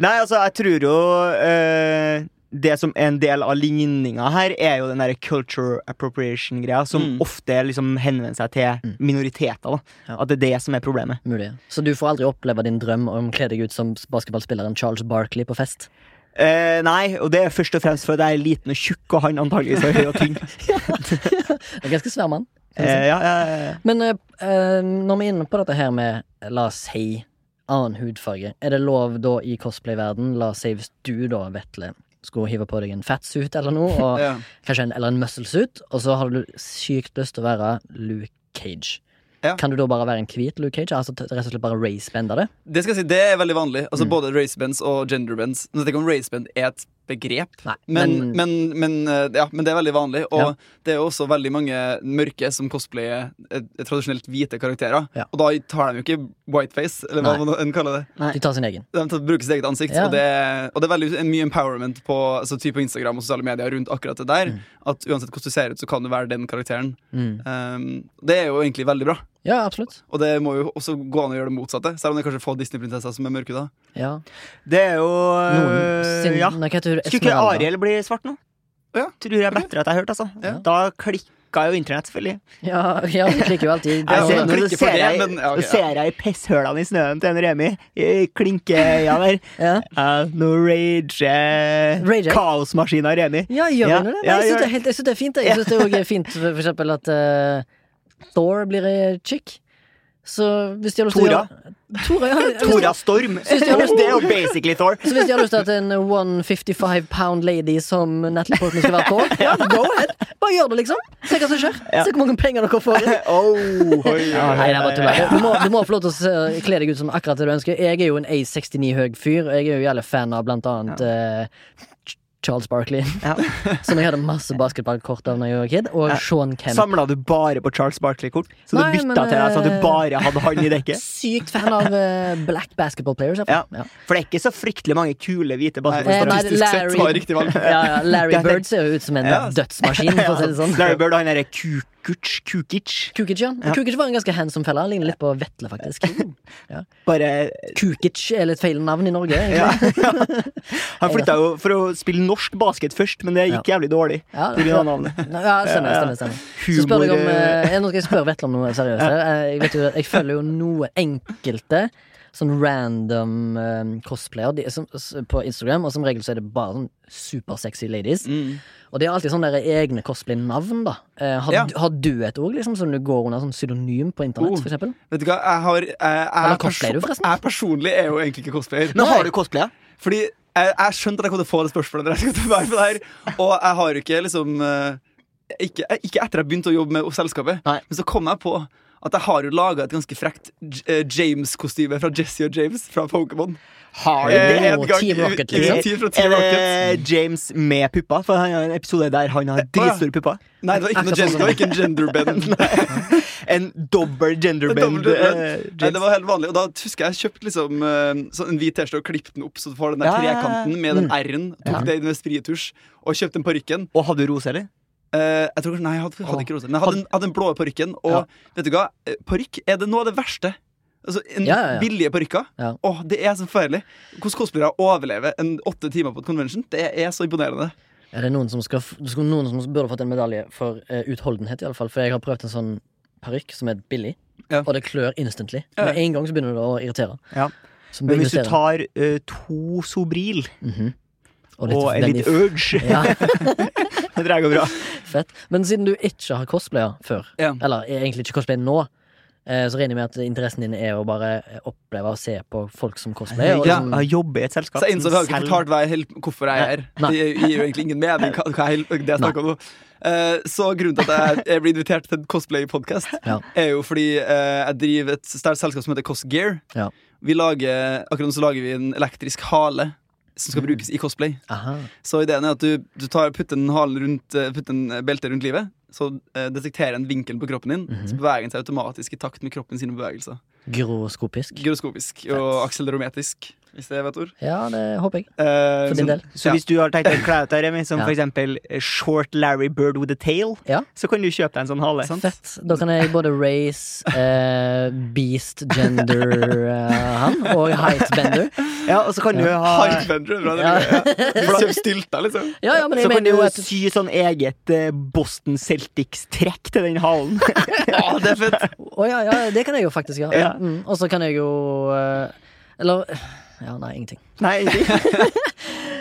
Speaker 2: Nei, altså, jeg tror jo eh, Det som er en del av ligninga her, er jo den der culture appropriation-greia, som
Speaker 3: Mm.
Speaker 2: ofte liksom henvender seg til minoriteter. da
Speaker 1: Mm. Ja.
Speaker 2: At det er det som er problemet.
Speaker 1: Mulig. Så du får aldri oppleve din drøm om å kle deg ut som basketballspilleren Charles Barkley på fest?
Speaker 2: Eh, nei, og det er først og fremst fordi jeg er liten og tjukk, og han antageligvis er høy og tynn.
Speaker 1: En ganske svær mann.
Speaker 2: Eh, ja, ja, ja.
Speaker 1: Men eh, eh, når vi er inne på dette her med, la oss si, annen hudfarge, er det lov da i cosplay-verden, la oss si hvis du da, Vetle, skulle hive på deg en fatsuit eller noe, og
Speaker 3: Ja.
Speaker 1: kanskje en, eller en musclesuit, og så har du sykt lyst til å være Luke Cage.
Speaker 3: Ja.
Speaker 1: Kan du da bare være en hvit Luke Cage? Altså t- rett og slett bare racebende det?
Speaker 3: Det skal jeg si, det er veldig vanlig. Altså
Speaker 1: Mm.
Speaker 3: Både racebands og genderbands. Nå vet jeg ikke om raceband er et begrep,
Speaker 1: Nei,
Speaker 3: men,
Speaker 1: men-
Speaker 3: men, men, eh, ja, men det er veldig vanlig. Og
Speaker 1: Ja.
Speaker 3: det er jo også veldig mange mørke som cosplayer eh, tradisjonelt hvite karakterer.
Speaker 1: Ja.
Speaker 3: Og da tar de jo ikke whiteface, eller hva
Speaker 1: Nei.
Speaker 3: man enn kaller det.
Speaker 1: De tar sin egen.
Speaker 3: De tar- bruker sitt eget ansikt,
Speaker 1: Ja.
Speaker 3: og, det, og det er veldig mye empowerment på, altså, typ på Instagram og sosiale medier rundt akkurat det der. At uansett hvordan du ser ut, så kan du være den karakteren.
Speaker 1: Mm.
Speaker 3: Um, det er jo egentlig veldig bra.
Speaker 1: Ja, absolutt.
Speaker 3: Og det må jo også gå an å gjøre det motsatte. Selv om det er kanskje få Disney-prinsesser som er mørke da.
Speaker 1: Ja.
Speaker 2: Det er jo øh,
Speaker 1: Noen sin,
Speaker 2: ja.
Speaker 1: Nei, hva heter hun?
Speaker 2: Skulle ikke
Speaker 1: Esmeralda.
Speaker 2: Ariel bli svart nå?
Speaker 3: Ja.
Speaker 2: Tror jeg er bedre at jeg hørte, altså.
Speaker 1: Ja.
Speaker 2: Da klikka jo internett, selvfølgelig.
Speaker 1: Ja, ja, de klikker jo alltid.
Speaker 3: Ja,
Speaker 2: Jeg ser,
Speaker 3: men
Speaker 2: nå
Speaker 3: klikker for
Speaker 2: ser
Speaker 3: det,
Speaker 2: jeg,
Speaker 3: men- ja, ok,
Speaker 2: nå
Speaker 3: ja.
Speaker 2: ser jeg i pisshølene i snøen til en Remi. I Klinkeøya der.
Speaker 1: Ja.
Speaker 2: Ja, Nå rager
Speaker 1: Rager.
Speaker 2: kaosmaskina Remi.
Speaker 1: Ja, gjør
Speaker 2: Ja,
Speaker 1: hun det? Nei,
Speaker 2: ja,
Speaker 1: jeg
Speaker 2: gjør
Speaker 1: syns det,
Speaker 2: det.
Speaker 1: er helt- jeg synes det er fint. Jeg Jeg synes det også er fint for, for eksempel at eh, Thor blir ei chick. Så hvis de har lyst til å
Speaker 2: Tora.
Speaker 1: gjøre- Tora, ja.
Speaker 2: Tora Storm.
Speaker 1: Synes du-
Speaker 2: Det er jo basically Thor.
Speaker 1: Så hvis de har lyst til at en 155 pound lady som Natalie Portman skal være Thor, ja, go ahead. Bare gjør det, liksom. Se hva som skjer. Se hvor mange penger dere får.
Speaker 2: Oh,
Speaker 1: Ja, nei, det er bare tull. Du, må- du må få lov til å se- kle deg ut som akkurat det du ønsker. Jeg er jo en A69 høg fyr, og jeg er jo jævlig fan av blant annet eh, Ch- Charles Barkley,
Speaker 2: Ja.
Speaker 1: som jeg hadde masse basketballkort av da jeg var kid, og
Speaker 2: Ja.
Speaker 1: Sean Kemp.
Speaker 2: Samla du bare på Charles Barkley-kort? Så du
Speaker 1: Nei,
Speaker 2: bytta
Speaker 1: men,
Speaker 2: til deg så at du
Speaker 1: eh,
Speaker 2: bare hadde han i dekket?
Speaker 1: Sykt fan av eh, black basketball players. i hvert fall. Ja.
Speaker 2: For det er ikke så fryktelig mange kule
Speaker 1: Eh,
Speaker 2: hvite
Speaker 1: nei,
Speaker 2: basketballspillere.
Speaker 3: Statistisk sett
Speaker 1: Larry-
Speaker 3: var det riktig valg.
Speaker 1: Ja, ja, Larry
Speaker 2: Det er-
Speaker 1: Bird ser jo ut som en
Speaker 3: Ja.
Speaker 1: dødsmaskin, for å si det sånn.
Speaker 2: Larry Bird og han derre Kukic, Kukic
Speaker 1: Kukic, ja.
Speaker 2: Ja.
Speaker 1: Kukic var en ganske handsome felle. Han ligner litt på Vetle, faktisk.
Speaker 2: Bare
Speaker 1: Kukic er litt feil navn i Norge. egentlig.
Speaker 2: ja, ja. Han flytta jo for å spille norsk basket først, men det gikk jævlig dårlig.
Speaker 1: Ja,
Speaker 2: På grunn av navnet.
Speaker 1: Ja, stemmer, stemmer, stemmer. Så spør
Speaker 2: Humor
Speaker 1: jeg om
Speaker 2: eh,
Speaker 1: eh, Nå skal jeg spørre Vetle om noe seriøst. her. Eh, Jeg, vet jo, jeg følger jo noen enkelte sånn random eh, cosplayer de, som, s- på Instagram, og som regel så er det bare sånn supersexy ladies.
Speaker 3: Mm.
Speaker 1: Og de har alltid sånne der egne cosplay-navn, da. Eh, har,
Speaker 3: Ja.
Speaker 1: du- har du et ord liksom, som du går under sånn synonym på internett,
Speaker 3: Oh.
Speaker 1: for eksempel?
Speaker 3: Vet du hva, jeg har jeg, jeg,
Speaker 1: Eller cosplayer du, forresten?
Speaker 3: jeg personlig er jo egentlig ikke cosplayer.
Speaker 2: Men har du cosplaya?
Speaker 3: Fordi jeg, jeg skjønte at jeg kom til å få det spørsmålet der jeg skulle til å være på det her, og jeg har jo ikke liksom eh, ikke, ikke etter jeg begynte å jobbe med selskapet,
Speaker 2: Nei.
Speaker 3: men så kom jeg på at jeg har jo laga et ganske frekt J- eh, James-kostyme fra Jesse og James fra Pokémon.
Speaker 2: Har
Speaker 1: Eh,
Speaker 2: du det?
Speaker 1: ja. Team Rocket, liksom?
Speaker 3: initiativ fra Team
Speaker 2: Er
Speaker 3: Rocket.
Speaker 2: det James med pupper? For han har en episode der han har dritstore pupper.
Speaker 3: Nei, det var ikke, noe
Speaker 1: Akkurat
Speaker 3: gen, det var
Speaker 1: sånn.
Speaker 3: ikke en genderbend.
Speaker 2: En dobbel genderbend. eh,
Speaker 3: Nei,
Speaker 2: James.
Speaker 3: det var helt vanlig. Og da husker jeg jeg kjøpte liksom, eh, sånn en hvit T-skjorte og klippet den opp, så du får den der
Speaker 2: Ja, ja, ja.
Speaker 3: trekanten med den R-en. Tok
Speaker 2: Ja.
Speaker 3: det inn med sprietusj og kjøpte den parykken.
Speaker 2: Og hadde du rose, eller?
Speaker 3: Eh, jeg tror kanskje, Nei, jeg hadde, hadde ikke rosa. Men jeg hadde, den- hadde den blå parykken. Og
Speaker 1: Ja.
Speaker 3: vet du hva? Eh, Parykk er det noe av det verste. Altså, en
Speaker 1: Ja, ja, ja.
Speaker 3: Billige parykker.
Speaker 1: Ja.
Speaker 3: Åh, det er så forferdelig. Hvordan cosplayere overlever en åtte timer på et convention, det er så imponerende.
Speaker 1: Er det noen som, skal, f- skulle- noen som burde fått en medalje for eh, utholdenhet, iallfall? For jeg har prøvd en sånn parykk som er billig,
Speaker 3: Ja.
Speaker 1: og det klør instantly.
Speaker 3: Ja.
Speaker 1: Med en gang så begynner det å irritere.
Speaker 2: Ja.
Speaker 1: Så
Speaker 2: Men
Speaker 1: begynner
Speaker 2: hvis du
Speaker 1: serien.
Speaker 2: tar eh, to Sobril
Speaker 1: Mhm. Og litt,
Speaker 2: og en
Speaker 1: den
Speaker 2: litt
Speaker 1: i-
Speaker 2: Urge,
Speaker 1: Ja,
Speaker 2: det tror jeg går bra.
Speaker 1: fett. Men siden du ikke har cosplaya før,
Speaker 3: Ja.
Speaker 1: eller er egentlig ikke cosplay nå, eh, så regner jeg med at interessen din er å bare eh, oppleve og se på folk som cosplayer. Og
Speaker 3: Ja.
Speaker 1: liksom,
Speaker 2: Jeg jobber i et selskap
Speaker 3: Så jeg innså at jeg har
Speaker 2: som
Speaker 3: ikke fortalt hva jeg, hel- hvorfor jeg er her.
Speaker 1: Nei.
Speaker 3: Det gir jo egentlig ingen mening. Hva, hva jeg, hel- det jeg snakker om nå Eh, Så grunnen til at jeg, jeg blir invitert til en cosplay-podkast,
Speaker 1: Ja.
Speaker 3: er jo fordi eh, jeg driver et sterkt selskap som heter Cosgear.
Speaker 1: Ja.
Speaker 3: Vi lager, akkurat nå så lager vi en elektrisk hale
Speaker 1: Mm.
Speaker 3: som skal brukes i cosplay.
Speaker 1: aha.
Speaker 3: Så ideen er at du, du tar, putter en halen rundt eh, Putter en eh, belte rundt livet Så eh, detekterer en vinkel på kroppen din Så
Speaker 1: Mhm.
Speaker 3: beveger den seg automatisk i takt med kroppen sine bevegelser
Speaker 1: Gyroskopisk.
Speaker 3: Gyroskopisk og akselerometrisk Hvis det er et ord
Speaker 1: Ja, det håper jeg.
Speaker 3: Eh,
Speaker 1: For din
Speaker 3: sånn-
Speaker 1: del.
Speaker 2: Så hvis du har tenkt å kle ut deg, Remi, som
Speaker 1: Ja.
Speaker 2: for eksempel eh, Short Larry Bird with a tail,
Speaker 1: Ja.
Speaker 2: så kan du kjøpe deg en sånn hale.
Speaker 3: Sant.
Speaker 1: Fett. Da kan jeg både race, eh, beast, gender eh, han, og heightbender.
Speaker 2: Ja, og så kan du ha
Speaker 3: High bender, bra det
Speaker 1: Ja.
Speaker 3: liker jeg. Ja. Kjøp stilt deg liksom
Speaker 1: Ja, ja, men jeg
Speaker 2: så kan
Speaker 1: mener
Speaker 2: du
Speaker 1: jo at
Speaker 2: sy sånn eget eh, Boston Celtics-trekk til den halen.
Speaker 3: Ja, det er fett
Speaker 1: Å ja, ja, det kan jeg jo faktisk gjøre.
Speaker 2: Ja.
Speaker 1: Mm, og så kan jeg jo eh, Eller Ja, nei, ingenting.
Speaker 2: Nei, ingenting.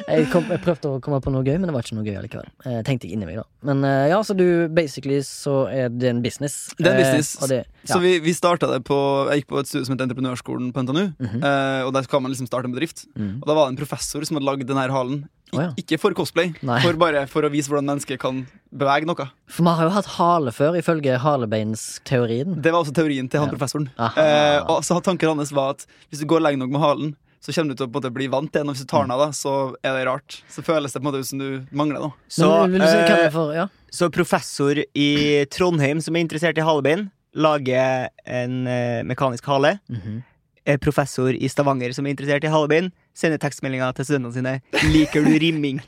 Speaker 1: Jeg, kom, jeg prøvde å komme på noe gøy, men det var ikke noe gøy allikevel. Eh, tenkte jeg inni meg, da. Men eh, ja, så du basically så er det en business.
Speaker 3: Det er en
Speaker 1: Eh,
Speaker 3: business.
Speaker 1: og det, ja.
Speaker 3: Så vi, vi startet det på Jeg gikk på et studie som heter Entreprenørskolen på NTNU
Speaker 1: Mhm.
Speaker 3: eh, Og der kan man liksom starte en bedrift
Speaker 1: Mhm.
Speaker 3: Og da var det en professor som hadde laget denne halen
Speaker 1: Å,
Speaker 3: Ik
Speaker 1: ja.
Speaker 3: Ikke for cosplay
Speaker 1: Nei.
Speaker 3: For bare for å vise hvordan mennesker kan bevege noe.
Speaker 1: For vi har jo hatt hale før, ifølge halebeinsteorien.
Speaker 3: Det var også teorien til han professoren.
Speaker 1: Aha.
Speaker 3: Eh, og så Tanken hans var at hvis du går lenge nok med halen, så kommer du til å på en måte bli vant til den. Og hvis du tar den av, deg, så er det rart. Så føles det på en måte ut som du mangler noe.
Speaker 2: Så,
Speaker 1: Men vil du si hva
Speaker 2: eh,
Speaker 1: vi får, ja?
Speaker 2: så professor i Trondheim som er interessert i halebein, lager en eh, mekanisk hale.
Speaker 1: Mhm.
Speaker 2: Eh, Professor i Stavanger som er interessert i halebein, sender tekstmeldinger til studentene sine. 'Liker du rimming?'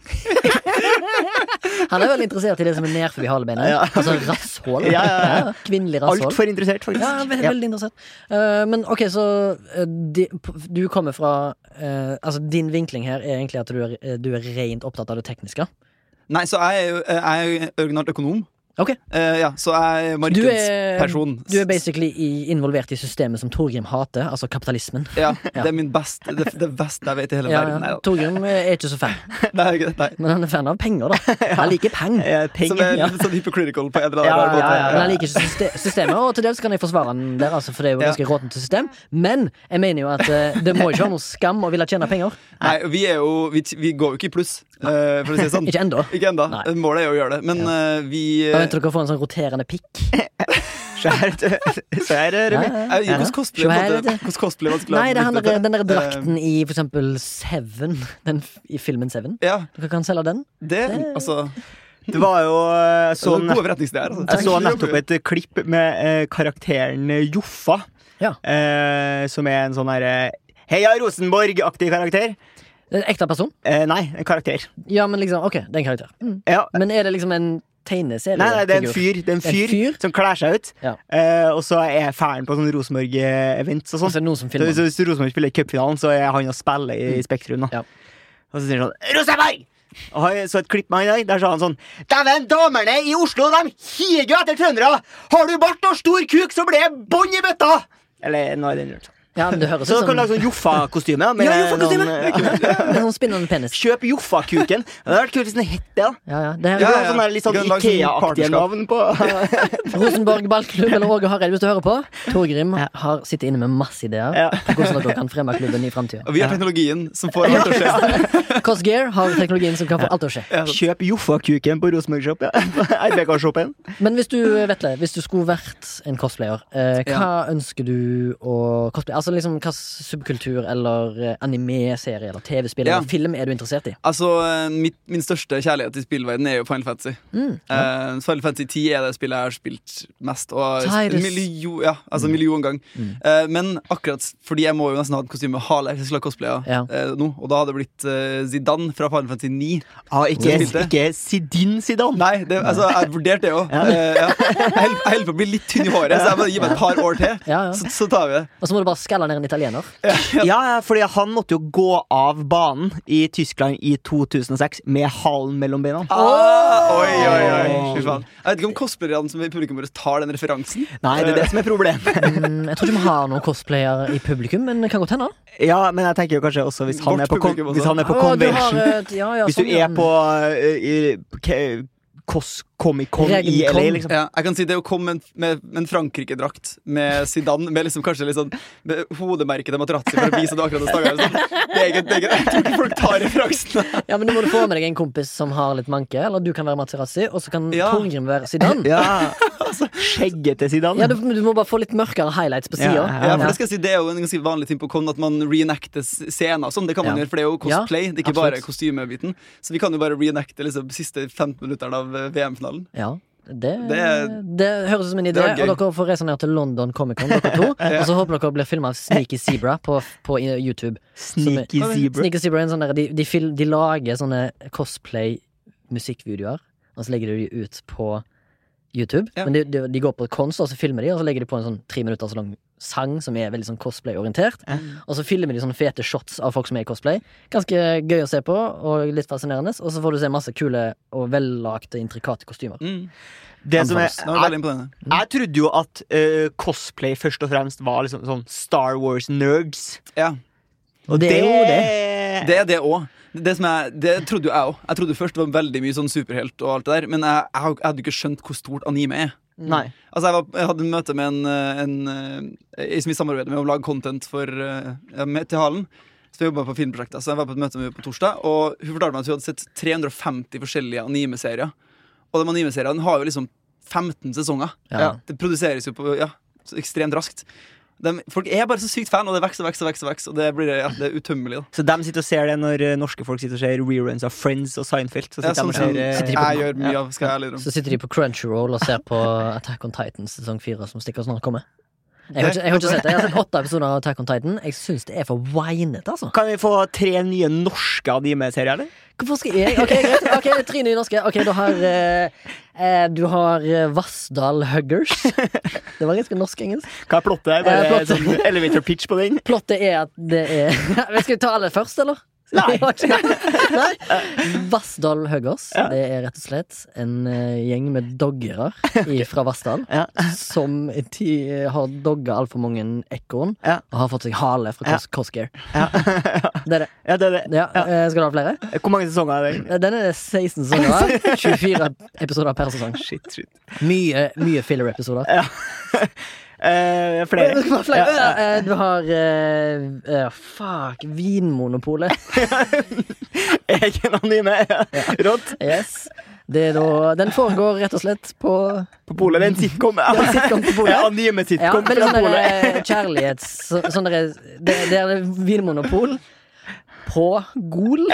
Speaker 1: Han er veldig interessert i det som er nær forbi halebeinet.
Speaker 2: Ja.
Speaker 1: Altså rasshål.
Speaker 2: Ja, ja, ja.
Speaker 1: Kvinnelig rasshål.
Speaker 2: Altfor interessert, faktisk.
Speaker 1: Ja, veldig,
Speaker 2: Ja.
Speaker 1: veldig interessant. Eh, men ok, så eh, de, p- du kommer fra eh, Altså, din vinkling her er egentlig at du er, eh, du er rent opptatt av det tekniske.
Speaker 3: Nei, så jeg er jo jeg er jo originalt økonom.
Speaker 1: Ok.
Speaker 3: Eh, ja, så jeg er
Speaker 1: Du er-
Speaker 3: markedsperson.
Speaker 1: Du er basically i, involvert i systemet som Torgrim hater, altså kapitalismen.
Speaker 3: Ja, det er min best, det, det beste jeg vet i hele
Speaker 1: Ja,
Speaker 3: verden.
Speaker 1: ja.
Speaker 3: Nei,
Speaker 1: Torgrim er ikke så fan,
Speaker 3: da. Nei, ok, nei.
Speaker 1: men han er fan av penger, da. Han liker penger.
Speaker 2: Eh, peng.
Speaker 3: Som er litt sånn hypocritical på en eller
Speaker 1: Ja, ja,
Speaker 3: annen måte.
Speaker 1: ja, Men han liker ikke syste- systemet, og til dels kan jeg forsvare han der, altså, for det er jo
Speaker 3: Ja.
Speaker 1: ganske råtent system. Men jeg mener jo at eh, det må ikke være noe skam å ville tjene penger.
Speaker 3: Nei, vi er jo Vi, vi går jo ikke i pluss, eh, for å si det sånn.
Speaker 1: Ikke ennå.
Speaker 3: Ikke ennå.
Speaker 1: Nei.
Speaker 3: Målet er jo å gjøre det. Men eh, vi eh,
Speaker 1: Vent til dere får en sånn roterende pikk.
Speaker 2: Skjært. Så her er
Speaker 1: Ja,
Speaker 2: Remi.
Speaker 1: ja.
Speaker 3: jeg,
Speaker 1: Ja.
Speaker 3: eh, Hvordan cosplay på
Speaker 1: Svære
Speaker 3: en måte- hvordan cosplay er vanskelig å
Speaker 1: Nei, det er han
Speaker 3: benytte
Speaker 1: der,
Speaker 3: til.
Speaker 1: den der drakten i for eksempel Seven. Den f i filmen Seven.
Speaker 3: Eh, Ja,
Speaker 1: Dere kan selge den.
Speaker 3: det Altså
Speaker 2: Det var jo eh, sånn
Speaker 3: det er Gode forretningssteder. Altså.
Speaker 2: Jeg så nettopp et klipp med eh, karakteren Joffa.
Speaker 1: Ja.
Speaker 2: Eh, som er en sånn herre Heia Rosenborg-aktig karakter.
Speaker 1: Det er En ekte person?
Speaker 2: Eh, nei, en karakter.
Speaker 1: Ja, men liksom, ok, det er en karakter. Mm.
Speaker 2: Ja.
Speaker 1: Men er det liksom en tegneserie?
Speaker 2: Nei, nei, det er en fyr, det er en fyr,
Speaker 1: fyr?
Speaker 2: som kler seg ut.
Speaker 1: Ja.
Speaker 2: Eh, og så er færen på sånn Rosenborg-events
Speaker 1: Og så
Speaker 2: og sånn.
Speaker 1: er det noen som
Speaker 2: Så
Speaker 1: filmer.
Speaker 2: hvis,
Speaker 1: den.
Speaker 2: hvis Rosenborg spiller i cupfinalen, så er han og spiller i Spektrum. Da.
Speaker 1: Ja.
Speaker 2: Og så sier han sånn Rosenborg! Og han, så et klipp med han i dag, der sa han sånn Dæven, damerne i Oslo, de higer etter trøndere! Har du bart og stor kuk, så blir det bånn i bøtta! Eller noe i den duren.
Speaker 1: Ja, men det høres
Speaker 2: Så
Speaker 1: ut
Speaker 2: dere kan
Speaker 1: som
Speaker 2: lage sånn Joffa-kostyme. da, med
Speaker 1: Ja, Joffa-kostyme,
Speaker 2: noen-
Speaker 1: det med sånn spinnende penis.
Speaker 2: Kjøp Joffa-kuken. Det hadde vært kult hvis den het det. da.
Speaker 1: Ja, ja. Det her
Speaker 2: Det
Speaker 1: er
Speaker 2: var
Speaker 3: ja.
Speaker 2: sånn der litt sånn
Speaker 3: Vi kan lage sånn
Speaker 2: Ikea-aktige
Speaker 3: partnerskap.
Speaker 2: navn på
Speaker 1: Rosenborg ballklubb eller Åge Hareid, hvis du hører på. Torgrim har sitter inne med masse ideer
Speaker 2: Ja.
Speaker 1: på hvordan dere kan fremme klubben i framtida.
Speaker 3: Og vi har teknologien som får alt til å skje.
Speaker 1: Cosgear har teknologien som kan få alt til å skje.
Speaker 3: Ja, sånn.
Speaker 2: Kjøp Joffa-kuken på Rosenborg-shop. Ja. RBK-shoppen.
Speaker 1: Men hvis du, Vetle, hvis du skulle vært en cosplayer, eh, hva ønsker du å cosplaye? Altså liksom, hva slags subkultur eller eh, anime-serie eller TV-spill
Speaker 3: Ja.
Speaker 1: eller film er du interessert i?
Speaker 3: Altså, eh, mitt, Min største kjærlighet til spillverden er jo Final Fantasy.
Speaker 1: Mm,
Speaker 3: Eh, Final Fantasy 10 er det spillet jeg har spilt mest. Og
Speaker 1: Tidus.
Speaker 3: en million, ja,
Speaker 1: Mm.
Speaker 3: altså en million gang. Eh, men akkurat fordi jeg må jo nesten ha et kostyme med hale, hvis jeg skulle ha cosplaya
Speaker 1: Ja.
Speaker 3: eh, nå, og da hadde det blitt eh, Zidane fra Final Fantasy 9.
Speaker 2: Ah, ikke,
Speaker 3: Spilte.
Speaker 2: ikke Sidin Sidan.
Speaker 3: Nei, det, altså, jeg vurderte det jo. Eh, ja. Jeg held- jeg holder på å bli litt tynn i håret, så jeg må gi meg et par år til.
Speaker 1: Ja, ja.
Speaker 3: Så, så tar vi det.
Speaker 1: Og så må du bare skalle ned en italiener.
Speaker 2: Ja, ja, fordi han måtte jo gå av banen i Tyskland i 2006 med halen mellom beina.
Speaker 3: Oi, oi, oi. Fy faen. Jeg vet ikke om cosplayerne som er i publikum vårt tar den referansen.
Speaker 2: Nei, det er det som er problemet.
Speaker 1: Mm, jeg tror ikke vi har noen cosplayer i publikum, men det kan godt hende.
Speaker 2: Ja, men jeg tenker jo kanskje også hvis han
Speaker 3: Vårt
Speaker 2: er på, kon-
Speaker 3: publikum også.
Speaker 2: hvis han er på
Speaker 1: Ah, du har
Speaker 2: convention.
Speaker 3: eh,
Speaker 1: et- ja, ja,
Speaker 2: Hvis du
Speaker 1: sånn, ja.
Speaker 2: er på eh, i- ke- Kos Comic-Con i
Speaker 1: Regencon.
Speaker 2: LA, liksom.
Speaker 3: Ja, jeg kan si Det å komme med, en- med, med en Frankrike-drakt med Zidane, med liksom kanskje litt sånn med hodemerket til Materazzi for å vise at du akkurat har staga deg sånn. Det er ikke- det er ikke- Jeg tror ikke folk tar referansen.
Speaker 1: Ja, men Da må du få med deg en kompis som har litt manke, eller du kan være Materazzi, og så kan
Speaker 3: Ja.
Speaker 1: Torgrim være Zidane. Ja.
Speaker 2: Ja. Altså, Skjeggete Sidan.
Speaker 1: du, du må bare få litt mørkere highlights på sida.
Speaker 2: Ja, ja,
Speaker 3: Ja, for Det skal jeg si, det er jo en ganske vanlig ting på Con at man reenacter scener. og Sånn, det kan man
Speaker 1: Ja.
Speaker 3: gjøre, for det er jo cosplay,
Speaker 1: Ja,
Speaker 3: det er ikke bare
Speaker 1: absolutt.
Speaker 3: kostymebiten. Så vi kan jo bare reenacte liksom, de siste 15 minutterne av eh, VM-finalen.
Speaker 1: Ja, det,
Speaker 3: Det er-
Speaker 1: det høres ut som en idé.
Speaker 3: det var
Speaker 1: Og
Speaker 3: gøy.
Speaker 1: dere får reise ned til London Comic Con, dere to. Og så håper dere blir filma av Sneaky Zebra på, på YouTube.
Speaker 2: Sneaky
Speaker 3: Som er-
Speaker 2: Zebra.
Speaker 1: Sneaky Zebra er en sånn der, de, de, fil, de lager sånne cosplay-musikkvideoer, og så legger de de ut på YouTube.
Speaker 3: Ja.
Speaker 1: Men de, de, de går på konst, og så filmer de, og så legger de på en sånn tre minutter så lang sang som er veldig sånn cosplay-orientert.
Speaker 2: Ja.
Speaker 1: Og så filmer de sånne fete shots av folk som er i cosplay. Ganske gøy å se på, og litt fascinerende. Og så får du se masse kule og vellagte, intrikate kostymer.
Speaker 3: Mm.
Speaker 2: Det som er,
Speaker 1: Anfangs.
Speaker 3: Det var veldig imponerende.
Speaker 2: jeg trodde jo at eh, cosplay først og fremst var liksom sånn Star Wars-nerds.
Speaker 3: Ja,
Speaker 1: Og det er jo det.
Speaker 3: Det er det òg. Det, som jeg- det trodde jo jeg òg. Jeg trodde først det var veldig mye sånn superhelt, og alt det der men jeg, jeg, har- jeg hadde jo ikke skjønt hvor stort anime er.
Speaker 2: Nei.
Speaker 3: Altså jeg, var, jeg hadde møte med en, eh, en, eh, ei som vi samarbeider med om å lage content for, eh, ja, med, til Halen. Så jeg jobbet på filmprosjekter, så jeg var på et møte med henne på torsdag, og hun fortalte meg at hun hadde sett 350 forskjellige animeserier. Og de animeseriene har jo liksom 15 sesonger.
Speaker 1: Ja.
Speaker 3: Det produseres jo på, ja, så ekstremt raskt. De, folk er bare så sykt fan, og det vokser og vokser, og vokser, og vokser, og det blir ja, det er utømmelig. da
Speaker 2: Så de sitter og ser det når eh, norske folk sitter og ser reruns av Friends og Seinfeld. Så
Speaker 3: Ja,
Speaker 2: sitter de
Speaker 3: sånn
Speaker 2: og
Speaker 3: som
Speaker 2: ser, eh,
Speaker 1: sitter de
Speaker 3: jeg gjør mye av, skal jeg ærlig innrømme.
Speaker 1: Så sitter de på Crunchyroll og ser på Attack on Titan sesong fire, som stikker snart kommer. Jeg har,
Speaker 3: Det-
Speaker 1: ikke, jeg har ikke sett det. Jeg har sett åtte episoder av Attack on Titan. Jeg syns det er for winete, altså.
Speaker 2: Kan vi få tre nye norske anime-serier, eller?
Speaker 1: Hvorfor skal jeg Ok, greit. Ok, Trine i norske. Ok, du har eh, eh, Du har eh, Vassdal Huggers. Det var ganske norsk-engelsk.
Speaker 2: Kan jeg plotte deg?
Speaker 1: Eh,
Speaker 2: Bare
Speaker 1: plott.
Speaker 2: sånn elevator pitch på den?
Speaker 1: Plottet er at det er Men Skal vi ta alle først, eller?
Speaker 2: Nei.
Speaker 1: Nei. Vassdal Høggers.
Speaker 2: Ja.
Speaker 1: Det er rett og slett en eh, gjeng med doggere i- fra Vassdal
Speaker 2: Ja.
Speaker 1: som ti- eh, har dogga altfor mange ekorn
Speaker 2: Ja.
Speaker 1: og har fått seg hale fra
Speaker 2: Ja.
Speaker 1: Cos Coscare.
Speaker 2: Ja.
Speaker 1: Det er det.
Speaker 2: Ja, det er det.
Speaker 1: Ja.
Speaker 2: Ja.
Speaker 1: eh, Skal du ha flere?
Speaker 2: Hvor mange sesonger er det?
Speaker 1: Den er det 16 sesonger av. 24 episoder per sesong.
Speaker 2: Shit, shit.
Speaker 1: Mye, mye filler-episoder.
Speaker 2: Ja. Eh,
Speaker 1: Nei,
Speaker 2: flere.
Speaker 1: det skal være flere.
Speaker 2: Ja, ja.
Speaker 1: Eh, Du har eh, eh, Fuck, Vinmonopolet.
Speaker 2: Egen anime. Ja. Rått.
Speaker 1: Yes. Det er da, den foregår rett og slett på
Speaker 2: På polet. Det er en sitcom. Ja.
Speaker 1: en sitcom på polet.
Speaker 2: Ja, Anime-sitcom
Speaker 1: ja, men
Speaker 2: fra
Speaker 1: sånn der,
Speaker 2: polet.
Speaker 1: eh, kjærlighets... så- Sånn der, det, det er vinmonopol på Gol.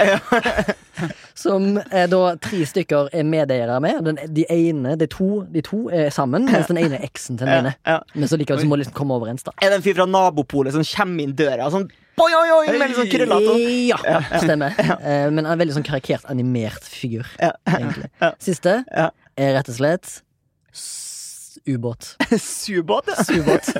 Speaker 1: Som er da tre stykker er medeiere med. Den, de ene, de to, de to er sammen, mens den ene er eksen til den ene.
Speaker 2: Ja.
Speaker 1: Men så likevel så må de liksom komme overens, da.
Speaker 2: Er det en fyr fra nabopolet som kommer inn døra sånn boing, boing, boing, med litt sånn krøllete og-
Speaker 1: Ja, stemmer. Eh, Men han er en veldig sånn karikert, animert figur,
Speaker 2: Ja.
Speaker 1: egentlig.
Speaker 2: Ja.
Speaker 1: Siste
Speaker 2: Ja.
Speaker 1: er rett og slett s- ubåt.
Speaker 2: Subåt, ja.
Speaker 1: Subåt.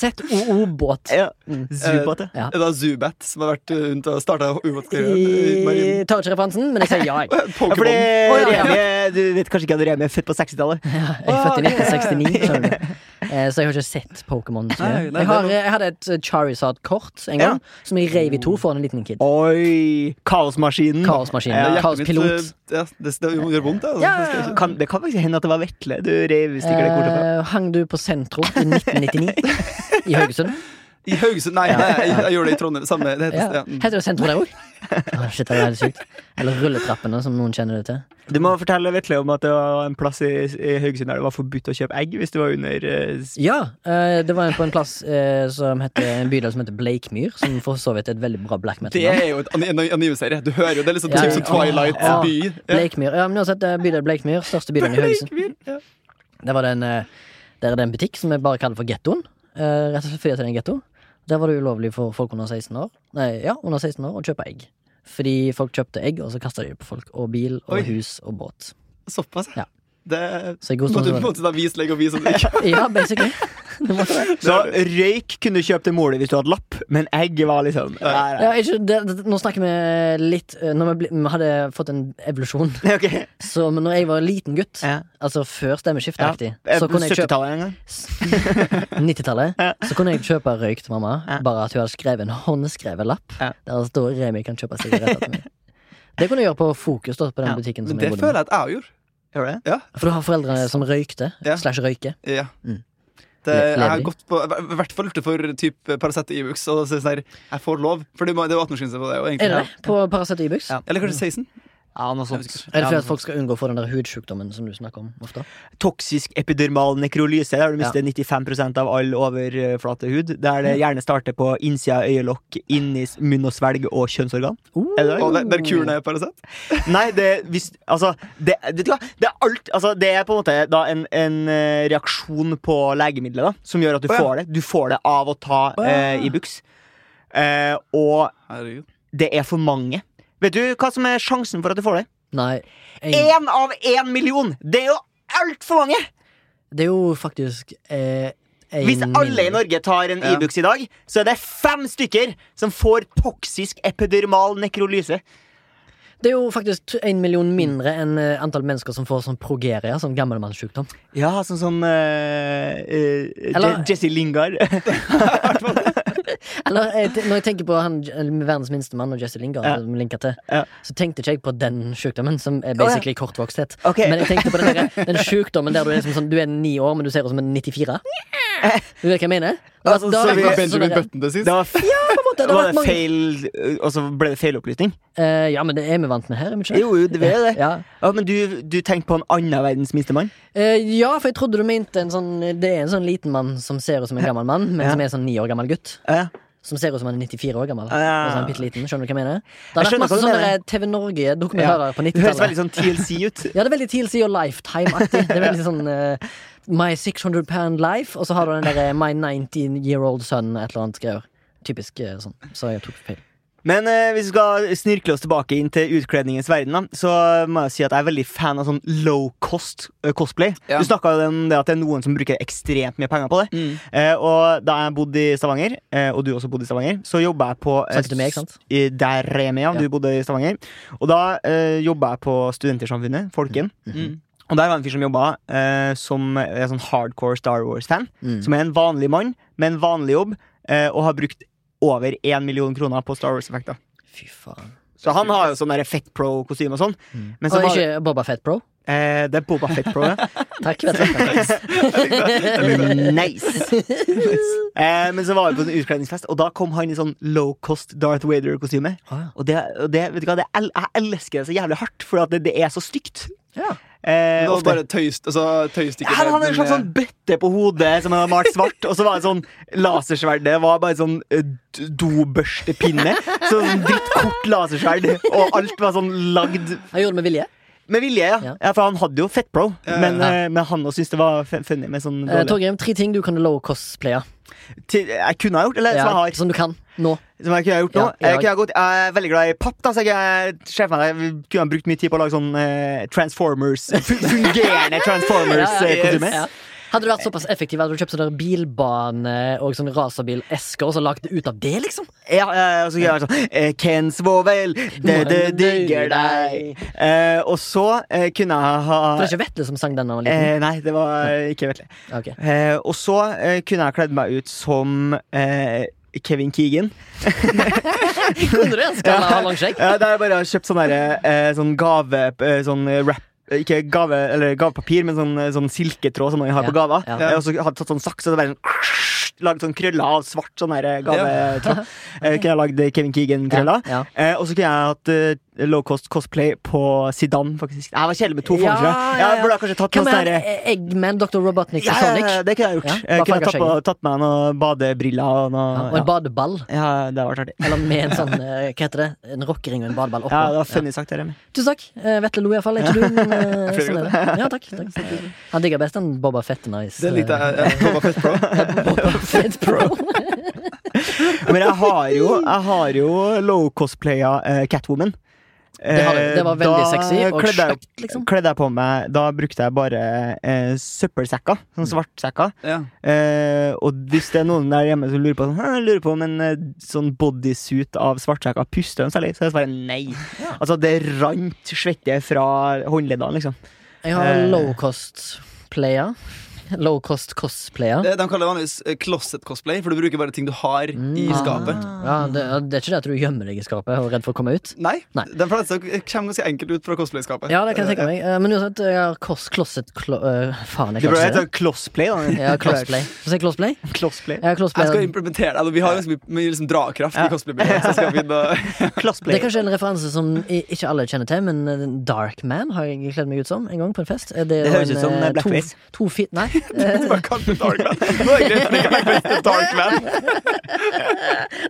Speaker 1: ZOO-båt.
Speaker 2: ja. Eh, Subåt, ja.
Speaker 1: Ja.
Speaker 3: Er det Zubat som har vært rundt og starta ubåtskrigen?
Speaker 1: Jeg tar ikke referansen, men jeg sier ja. Jeg
Speaker 2: Ja, fordi
Speaker 3: Pokémon.
Speaker 1: Å, ja, ja.
Speaker 2: Remi, du vet kanskje ikke at Remi er født på 60-tallet?
Speaker 1: Jeg er født i 1969, skjønner du. Eh, Så jeg har ikke sett Pokémon. så mye.
Speaker 3: Nei, nei,
Speaker 1: Jeg, har,
Speaker 3: det
Speaker 1: jeg hadde et eh, Charizard-kort en gang, som jeg rev i to for en liten kid.
Speaker 2: Oi! Kaosmaskinen.
Speaker 1: Kaosmaskinen.
Speaker 2: Ja.
Speaker 3: Hjertet mitt,
Speaker 1: Kaospilot.
Speaker 3: eh, Ja, det, det gjør vondt, det. altså.
Speaker 1: Ja,
Speaker 3: Det skal jeg si.
Speaker 2: Kan, det kan faktisk hende at det var Vetle du rev stikker det kortet fra.
Speaker 1: Eh, hang du på Sentro i 1999 i Haugesund?
Speaker 3: I Haugesund? Nei, nei jeg, jeg gjorde det i Trondheim. Samme, det heter,
Speaker 1: Ja.
Speaker 3: ja. mm.
Speaker 1: Heter det Sentro der òg? Ah, shit, det er helt sykt. Eller Rulletrappene, som noen kjenner det til.
Speaker 2: Du må fortelle Vetle om at det var en plass i, i Haugesund der det var forbudt å kjøpe egg hvis du var under eh, s-
Speaker 1: Ja, eh, det var på en plass eh, som heter, en bydel som heter Blakemyr, som for så vidt er et veldig bra black
Speaker 3: Det
Speaker 1: metal-navn.
Speaker 3: er jo et an- en anime-serie. Du hører jo det. er litt sånn
Speaker 1: Ja,
Speaker 3: typ som
Speaker 1: ja. Ja.
Speaker 3: Twilight-by. Ja.
Speaker 1: Blakemyr. Ja, men uansett, det er bydel Blakemyr, største bydelen i Haugesund. Der var det en, eh, der er det en butikk som vi bare kaller for Gettoen. eh, Rett og slett fordi at det er en getto. Der var det ulovlig for folk under 16 år Nei, ja, under 16 år å kjøpe egg. Fordi folk kjøpte egg, og så kasta de det på folk. Og bil, og
Speaker 3: Oi.
Speaker 1: hus, og båt.
Speaker 3: Såpass,
Speaker 1: Ja.
Speaker 3: Det
Speaker 1: Så i god
Speaker 3: måtte
Speaker 1: stund
Speaker 3: du på en måte da vise legge og vise at du ikke
Speaker 1: Ja, basically. Det måtte det.
Speaker 2: Så røyk kunne du kjøpe til mora hvis du hadde lapp, men egg var liksom Nei,
Speaker 1: Ja, ikke, det, det, nå snakker vi litt eh, Når vi, bli, vi hadde fått en evolusjon.
Speaker 2: nei. Ok.
Speaker 1: Så men når jeg var liten gutt,
Speaker 2: Ja.
Speaker 1: altså før
Speaker 2: Ja.
Speaker 1: stemmeskiftaktig,
Speaker 2: Eh,
Speaker 1: så
Speaker 2: på
Speaker 1: kunne jeg kjøpe
Speaker 2: 70-tallet en gang.
Speaker 1: 90-tallet. Så kunne jeg kjøpe røyk til mamma,
Speaker 2: Ja.
Speaker 1: bare at hun hadde skrevet en håndskrevet lapp
Speaker 2: Ja.
Speaker 1: der det står 'Remi kan kjøpe sigaretter til meg'. Det kunne jeg gjøre på Fokus, da, på den
Speaker 2: Ja,
Speaker 1: butikken.
Speaker 3: Men
Speaker 1: som
Speaker 3: det
Speaker 1: jeg bodde
Speaker 3: føler jeg at jeg gjorde.
Speaker 2: Gjorde det?
Speaker 1: i. For du har foreldre som røykte,
Speaker 3: Ja.
Speaker 1: slash røyker.
Speaker 3: Ja.
Speaker 1: Mm. Le-
Speaker 3: Det, jeg har
Speaker 1: ledig.
Speaker 3: gått på, I hvert fall lurte for typ Paracet og Ibux. Og så er det sånn her, jeg får lov, for det må- det er jo 18-årsgrense på det. Og
Speaker 1: Er det
Speaker 3: egentlig,
Speaker 1: det? På Paracet og Ibux?
Speaker 2: Ja.
Speaker 3: Eller kanskje 16?
Speaker 2: Ja, noe
Speaker 3: Jeg
Speaker 2: sånt.
Speaker 3: vet ikke.
Speaker 1: Er det
Speaker 2: Ja,
Speaker 1: fordi
Speaker 2: noe
Speaker 1: at folk skal unngå å få den der hudsjukdommen som du snakker om ofte?
Speaker 2: toksisk epidermal nekrolyse, der du
Speaker 1: Ja.
Speaker 2: mister 95 av all overflatehud. Der det gjerne starter på innsida av øyelokk, inni s- munn og svelg og kjønnsorgan. Er det
Speaker 3: Og
Speaker 2: det?
Speaker 3: der, der kuren er Paracet?
Speaker 2: Nei, det hvis, Altså, det, vet du hva? det er alt altså, Det er på en måte da en, en eh, reaksjon på legemidlet da, som gjør at du
Speaker 3: Å, ja.
Speaker 2: får det. Du får det av å ta
Speaker 3: Å, ja.
Speaker 2: eh, Ibux. Eh, og
Speaker 3: Herregud.
Speaker 2: det er for mange. Vet du hva som er sjansen for at du får det?
Speaker 1: Nei. Jeg,
Speaker 2: Én av én million! Det er jo altfor mange!
Speaker 1: det er jo faktisk eh, en
Speaker 2: Hvis alle
Speaker 1: mindre.
Speaker 2: i Norge tar en
Speaker 3: Ja.
Speaker 2: Ibux i dag, så er det fem stykker som får toksisk epidermal nekrolyse.
Speaker 1: Det er jo faktisk t- en million mindre enn eh, antall mennesker som får sånn progeria, sånn gammelmannssykdom.
Speaker 2: Ja, sånn som eh, eh, Je-
Speaker 1: Eller-
Speaker 2: Jesse Lingard.
Speaker 1: Eller eh, te- når jeg tenker på han eh, verdens minste mann og Jesse Lingard,
Speaker 2: Ja.
Speaker 1: som vi linker til,
Speaker 2: Ja.
Speaker 1: så tenkte ikke jeg på den sykdommen, som er basically kortvoksthet.
Speaker 2: Ok.
Speaker 1: Men jeg tenkte på den, der, den sykdommen der du er, liksom sånn, du er ni år, men du ser ut som en 94. Du vet hva jeg mener?
Speaker 2: Altså,
Speaker 1: Da-
Speaker 2: så
Speaker 1: da-
Speaker 2: vi-
Speaker 1: da-
Speaker 3: Benjamin
Speaker 1: sånn der-
Speaker 3: Button til sist.
Speaker 2: det var f-
Speaker 1: ja, på en det hadde
Speaker 2: Var
Speaker 1: vært
Speaker 2: det
Speaker 1: mange
Speaker 2: feil eh, Og så ble det feilopplysning?
Speaker 1: Eh, Ja, men det er vi vant med her, er vi ikke?
Speaker 2: Jo, jo, det var jo det.
Speaker 1: Ja.
Speaker 2: Ja, men du, du tenkte på en annen verdens minstemann?
Speaker 1: Eh, ja, for jeg trodde du mente en sånn Det er en sånn liten mann som ser ut som en gammel mann, men
Speaker 2: Ja.
Speaker 1: som er en sånn ni år gammel gutt.
Speaker 2: Ja.
Speaker 1: Som ser ut som han er 94 år gammel.
Speaker 2: Ah, Ja.
Speaker 1: Og så er han bitteliten. Skjønner du hva jeg mener? Det
Speaker 2: Jeg
Speaker 1: har vært
Speaker 2: skjønner
Speaker 1: masse
Speaker 2: hva du
Speaker 1: sånne
Speaker 2: mener.
Speaker 1: der TV Norge-dokumentarer på
Speaker 2: Det høres
Speaker 1: 90-tallet.
Speaker 2: veldig sånn TLC ut.
Speaker 1: Ja, det er veldig TLC og Lifetime-aktig. Det er veldig sånn eh, My 600 Pound Life, og så har du den derre My 19 Year Old Son, et eller annet greier. Typisk eh, sånn. Så jeg tok feil.
Speaker 2: Men eh, hvis vi skal snirkle oss tilbake inn til utkledningens verden, da, så må jeg si at jeg er veldig fan av sånn low cost eh, cosplay.
Speaker 3: Ja.
Speaker 2: Du snakka jo om det at det er noen som bruker ekstremt mye penger på det.
Speaker 3: Mm.
Speaker 2: Eh, og da jeg bodde i Stavanger, eh, og du også bodde i Stavanger, så jobba jeg på eh,
Speaker 1: Snakket du med, ikke sant?
Speaker 2: i- Der er jeg med, ja. Du bodde i Stavanger. Og da eh, jobba jeg på Studentersamfunnet, Folken.
Speaker 1: Mm.
Speaker 2: Mm.
Speaker 3: Mhm.
Speaker 2: Og der var en fyr som jobba eh, som er sånn hardcore Star Wars-fan.
Speaker 1: Mm.
Speaker 2: Som er en vanlig mann med en vanlig jobb, eh, og har brukt over én million kroner på Star Wars-effekter.
Speaker 1: Fy faen.
Speaker 2: Så han har jo sånn der Fett Pro-kostyme og sånn. Men så
Speaker 1: Og
Speaker 2: var det,
Speaker 1: ikke Boba Fett, bro.
Speaker 2: eh, det er Boba Fett Pro, ja.
Speaker 1: Takk. Vet du.
Speaker 2: nice. Eh, men så var vi på en utkledningsfest, og da kom han i sånn low cost Darth Vader-kostyme.
Speaker 1: Ah,
Speaker 2: Og, det, og det, vet du hva, det el jeg elsker det så jævlig hardt, for at det, det er så stygt.
Speaker 1: ja.
Speaker 2: Eh,
Speaker 3: Det var
Speaker 2: ofte.
Speaker 3: bare tøys, altså, tøystikker
Speaker 2: Ja, han hadde en slags
Speaker 3: eh,
Speaker 2: sånn bøtte på hodet som han hadde malt svart, og så var det sånn lasersverd. Det var bare sånn eh, d- dobørstepinne. Så sånn drittkort lasersverd, og alt var sånn lagd
Speaker 1: Han gjorde det med vilje.
Speaker 2: Med vilje, ja. ja.
Speaker 1: Ja.
Speaker 2: for han hadde jo Fett Pro,
Speaker 3: Ja, ja,
Speaker 2: men,
Speaker 1: ja.
Speaker 2: eh, men han også syntes det var fun- funny med sånn
Speaker 1: Uh,
Speaker 2: dårlig.
Speaker 1: Torgrim, tre ting du kan low-cosplaye.
Speaker 2: Til, jeg kunne ha gjort, eller som jeg har.
Speaker 1: som du kan nå.
Speaker 2: Som jeg kunne ha gjort nå.
Speaker 1: Ja, i
Speaker 2: jeg,
Speaker 1: dag.
Speaker 2: kunne ha gått, jeg er veldig glad i papp, da, så jeg ser for meg at jeg kunne ha brukt mye tid på å lage sånn eh, Transformers fu- Fungerende eh,
Speaker 1: Ja, ja,
Speaker 2: Transformers-kostyme.
Speaker 1: Ja. Hadde du vært såpass effektiv, hadde du kjøpt sånne bilbane og sånne racerbilesker og så lagd det ut av det, liksom?
Speaker 2: Ja, ja, og så kunne jeg vært sånn eh, Ken Svovel, det, det digger deg. Eh, og så eh, kunne jeg ha
Speaker 1: For det er ikke Vetle som sang den da han var liten?
Speaker 2: eh, Nei, det var ikke Vetle.
Speaker 1: Ok.
Speaker 2: Eh, og så eh, kunne jeg kledd meg ut som eh, Kevin Keegan.
Speaker 1: Kunne du det? Skal han ha lang skjegg?
Speaker 2: Ja, der jeg bare har kjøpt sånn derre, eh, sånn gave eh, Sånn eh, wrap eh, ikke gave, eller gavepapir, men sånn, eh, sånn silketråd som man har
Speaker 1: Ja,
Speaker 2: på gaver.
Speaker 1: ja.
Speaker 2: Eh, Og så hadde jeg tatt sånn saks og det bare sånn lagd sånn krøller av svart sånn der, eh, gavetråd. Eh, kunne jeg lagd eh, Kevin Keegan-krøller.
Speaker 1: Ja, ja.
Speaker 2: Eh, og så kunne jeg hatt eh, low cost cosplay på Zidane, faktisk. Jeg var kjedelig med to former. Jeg burde ha kanskje tatt
Speaker 1: Hvem
Speaker 2: noe
Speaker 1: er
Speaker 2: sånn
Speaker 1: han?
Speaker 2: derre-
Speaker 1: Eh, Eggman, Dr. Robotnik
Speaker 2: ja,
Speaker 1: og
Speaker 2: ja,
Speaker 1: Sonic?
Speaker 2: ja, det kunne jeg gjort.
Speaker 1: Ja,
Speaker 2: jeg
Speaker 1: bare
Speaker 2: kunne tatt,
Speaker 1: farga
Speaker 2: på, tatt med meg noen badebriller og noe.
Speaker 1: Og en badeball.
Speaker 2: ja, det hadde vært artig.
Speaker 1: Eller med en sånn, eh, hva heter det, en rockering og en badeball oppå.
Speaker 2: Ja, det var funny sagt, det, Remi.
Speaker 1: Tusen takk. Eh, Vetle lo iallfall. Er ikke du men, eh,
Speaker 2: Flere
Speaker 1: sånn er det. Ja, takk, takk. Han digger best den Boba Fett-nice.
Speaker 3: Det likte jeg. Ja, Boba Fett Pro.
Speaker 1: Boba Fett Pro.
Speaker 2: Men jeg har jo, jeg har jo low-cosplaya eh, Catwoman.
Speaker 1: Det har du. Det var
Speaker 2: Eh,
Speaker 1: veldig
Speaker 2: da
Speaker 1: sexy og
Speaker 2: kledde jeg-
Speaker 1: kjøkt, liksom.
Speaker 2: Kledde jeg på meg Da brukte jeg bare eh, søppelsekker.
Speaker 1: Mm.
Speaker 2: Sånn svartsekker.
Speaker 3: Ja.
Speaker 2: Eh, og hvis det er noen der hjemme som lurer på sånn, «Hæ, jeg lurer på om en eh, sånn bodysuit av svartsekker puster de særlig, så er det svaret nei. Altså, det rant svette fra håndleddene, liksom.
Speaker 1: Jeg har
Speaker 2: Eh.
Speaker 1: low cost player. Low cost cosplayer.
Speaker 3: Det, de kaller det vanligvis eh, closet cosplay, for du bruker bare ting du har i
Speaker 1: Mm.
Speaker 3: skapet.
Speaker 1: Ah. Ja, det, det er ikke det at du gjemmer deg i skapet og er redd for å komme ut.
Speaker 3: Nei,
Speaker 1: Nei.
Speaker 3: den fleste kommer ganske enkelt ut fra cosplay-skapet.
Speaker 1: Ja, det kan jeg tenke meg. Eh, Men uansett, jeg har cos closet clo eh, Faen,
Speaker 2: Du
Speaker 1: jeg klarer
Speaker 2: burde
Speaker 1: ikke
Speaker 2: hete
Speaker 1: det.
Speaker 2: Closplay, da.
Speaker 1: Jeg har cosplay. Får jeg si cosplay?
Speaker 2: Closplay.
Speaker 1: Jeg har cosplay.
Speaker 3: eh, Jeg skal implementere det. Altså, Vi har ganske mye- mye liksom, drakraft i cosplay-miljøet. så skal vi inn og-
Speaker 2: Closplay.
Speaker 1: Det er kanskje en referanse som i- ikke alle kjenner til, men eh, Dark Man har jeg kledd meg ut som en gang på en fest. Eh,
Speaker 2: Det høres
Speaker 1: var en,
Speaker 2: ut som,
Speaker 1: eh,
Speaker 2: eh, blackface.
Speaker 1: To, to fit, nei. eh,
Speaker 3: Bare kall det Dark Man. Nå er det greit, for det kan være best Dark Man.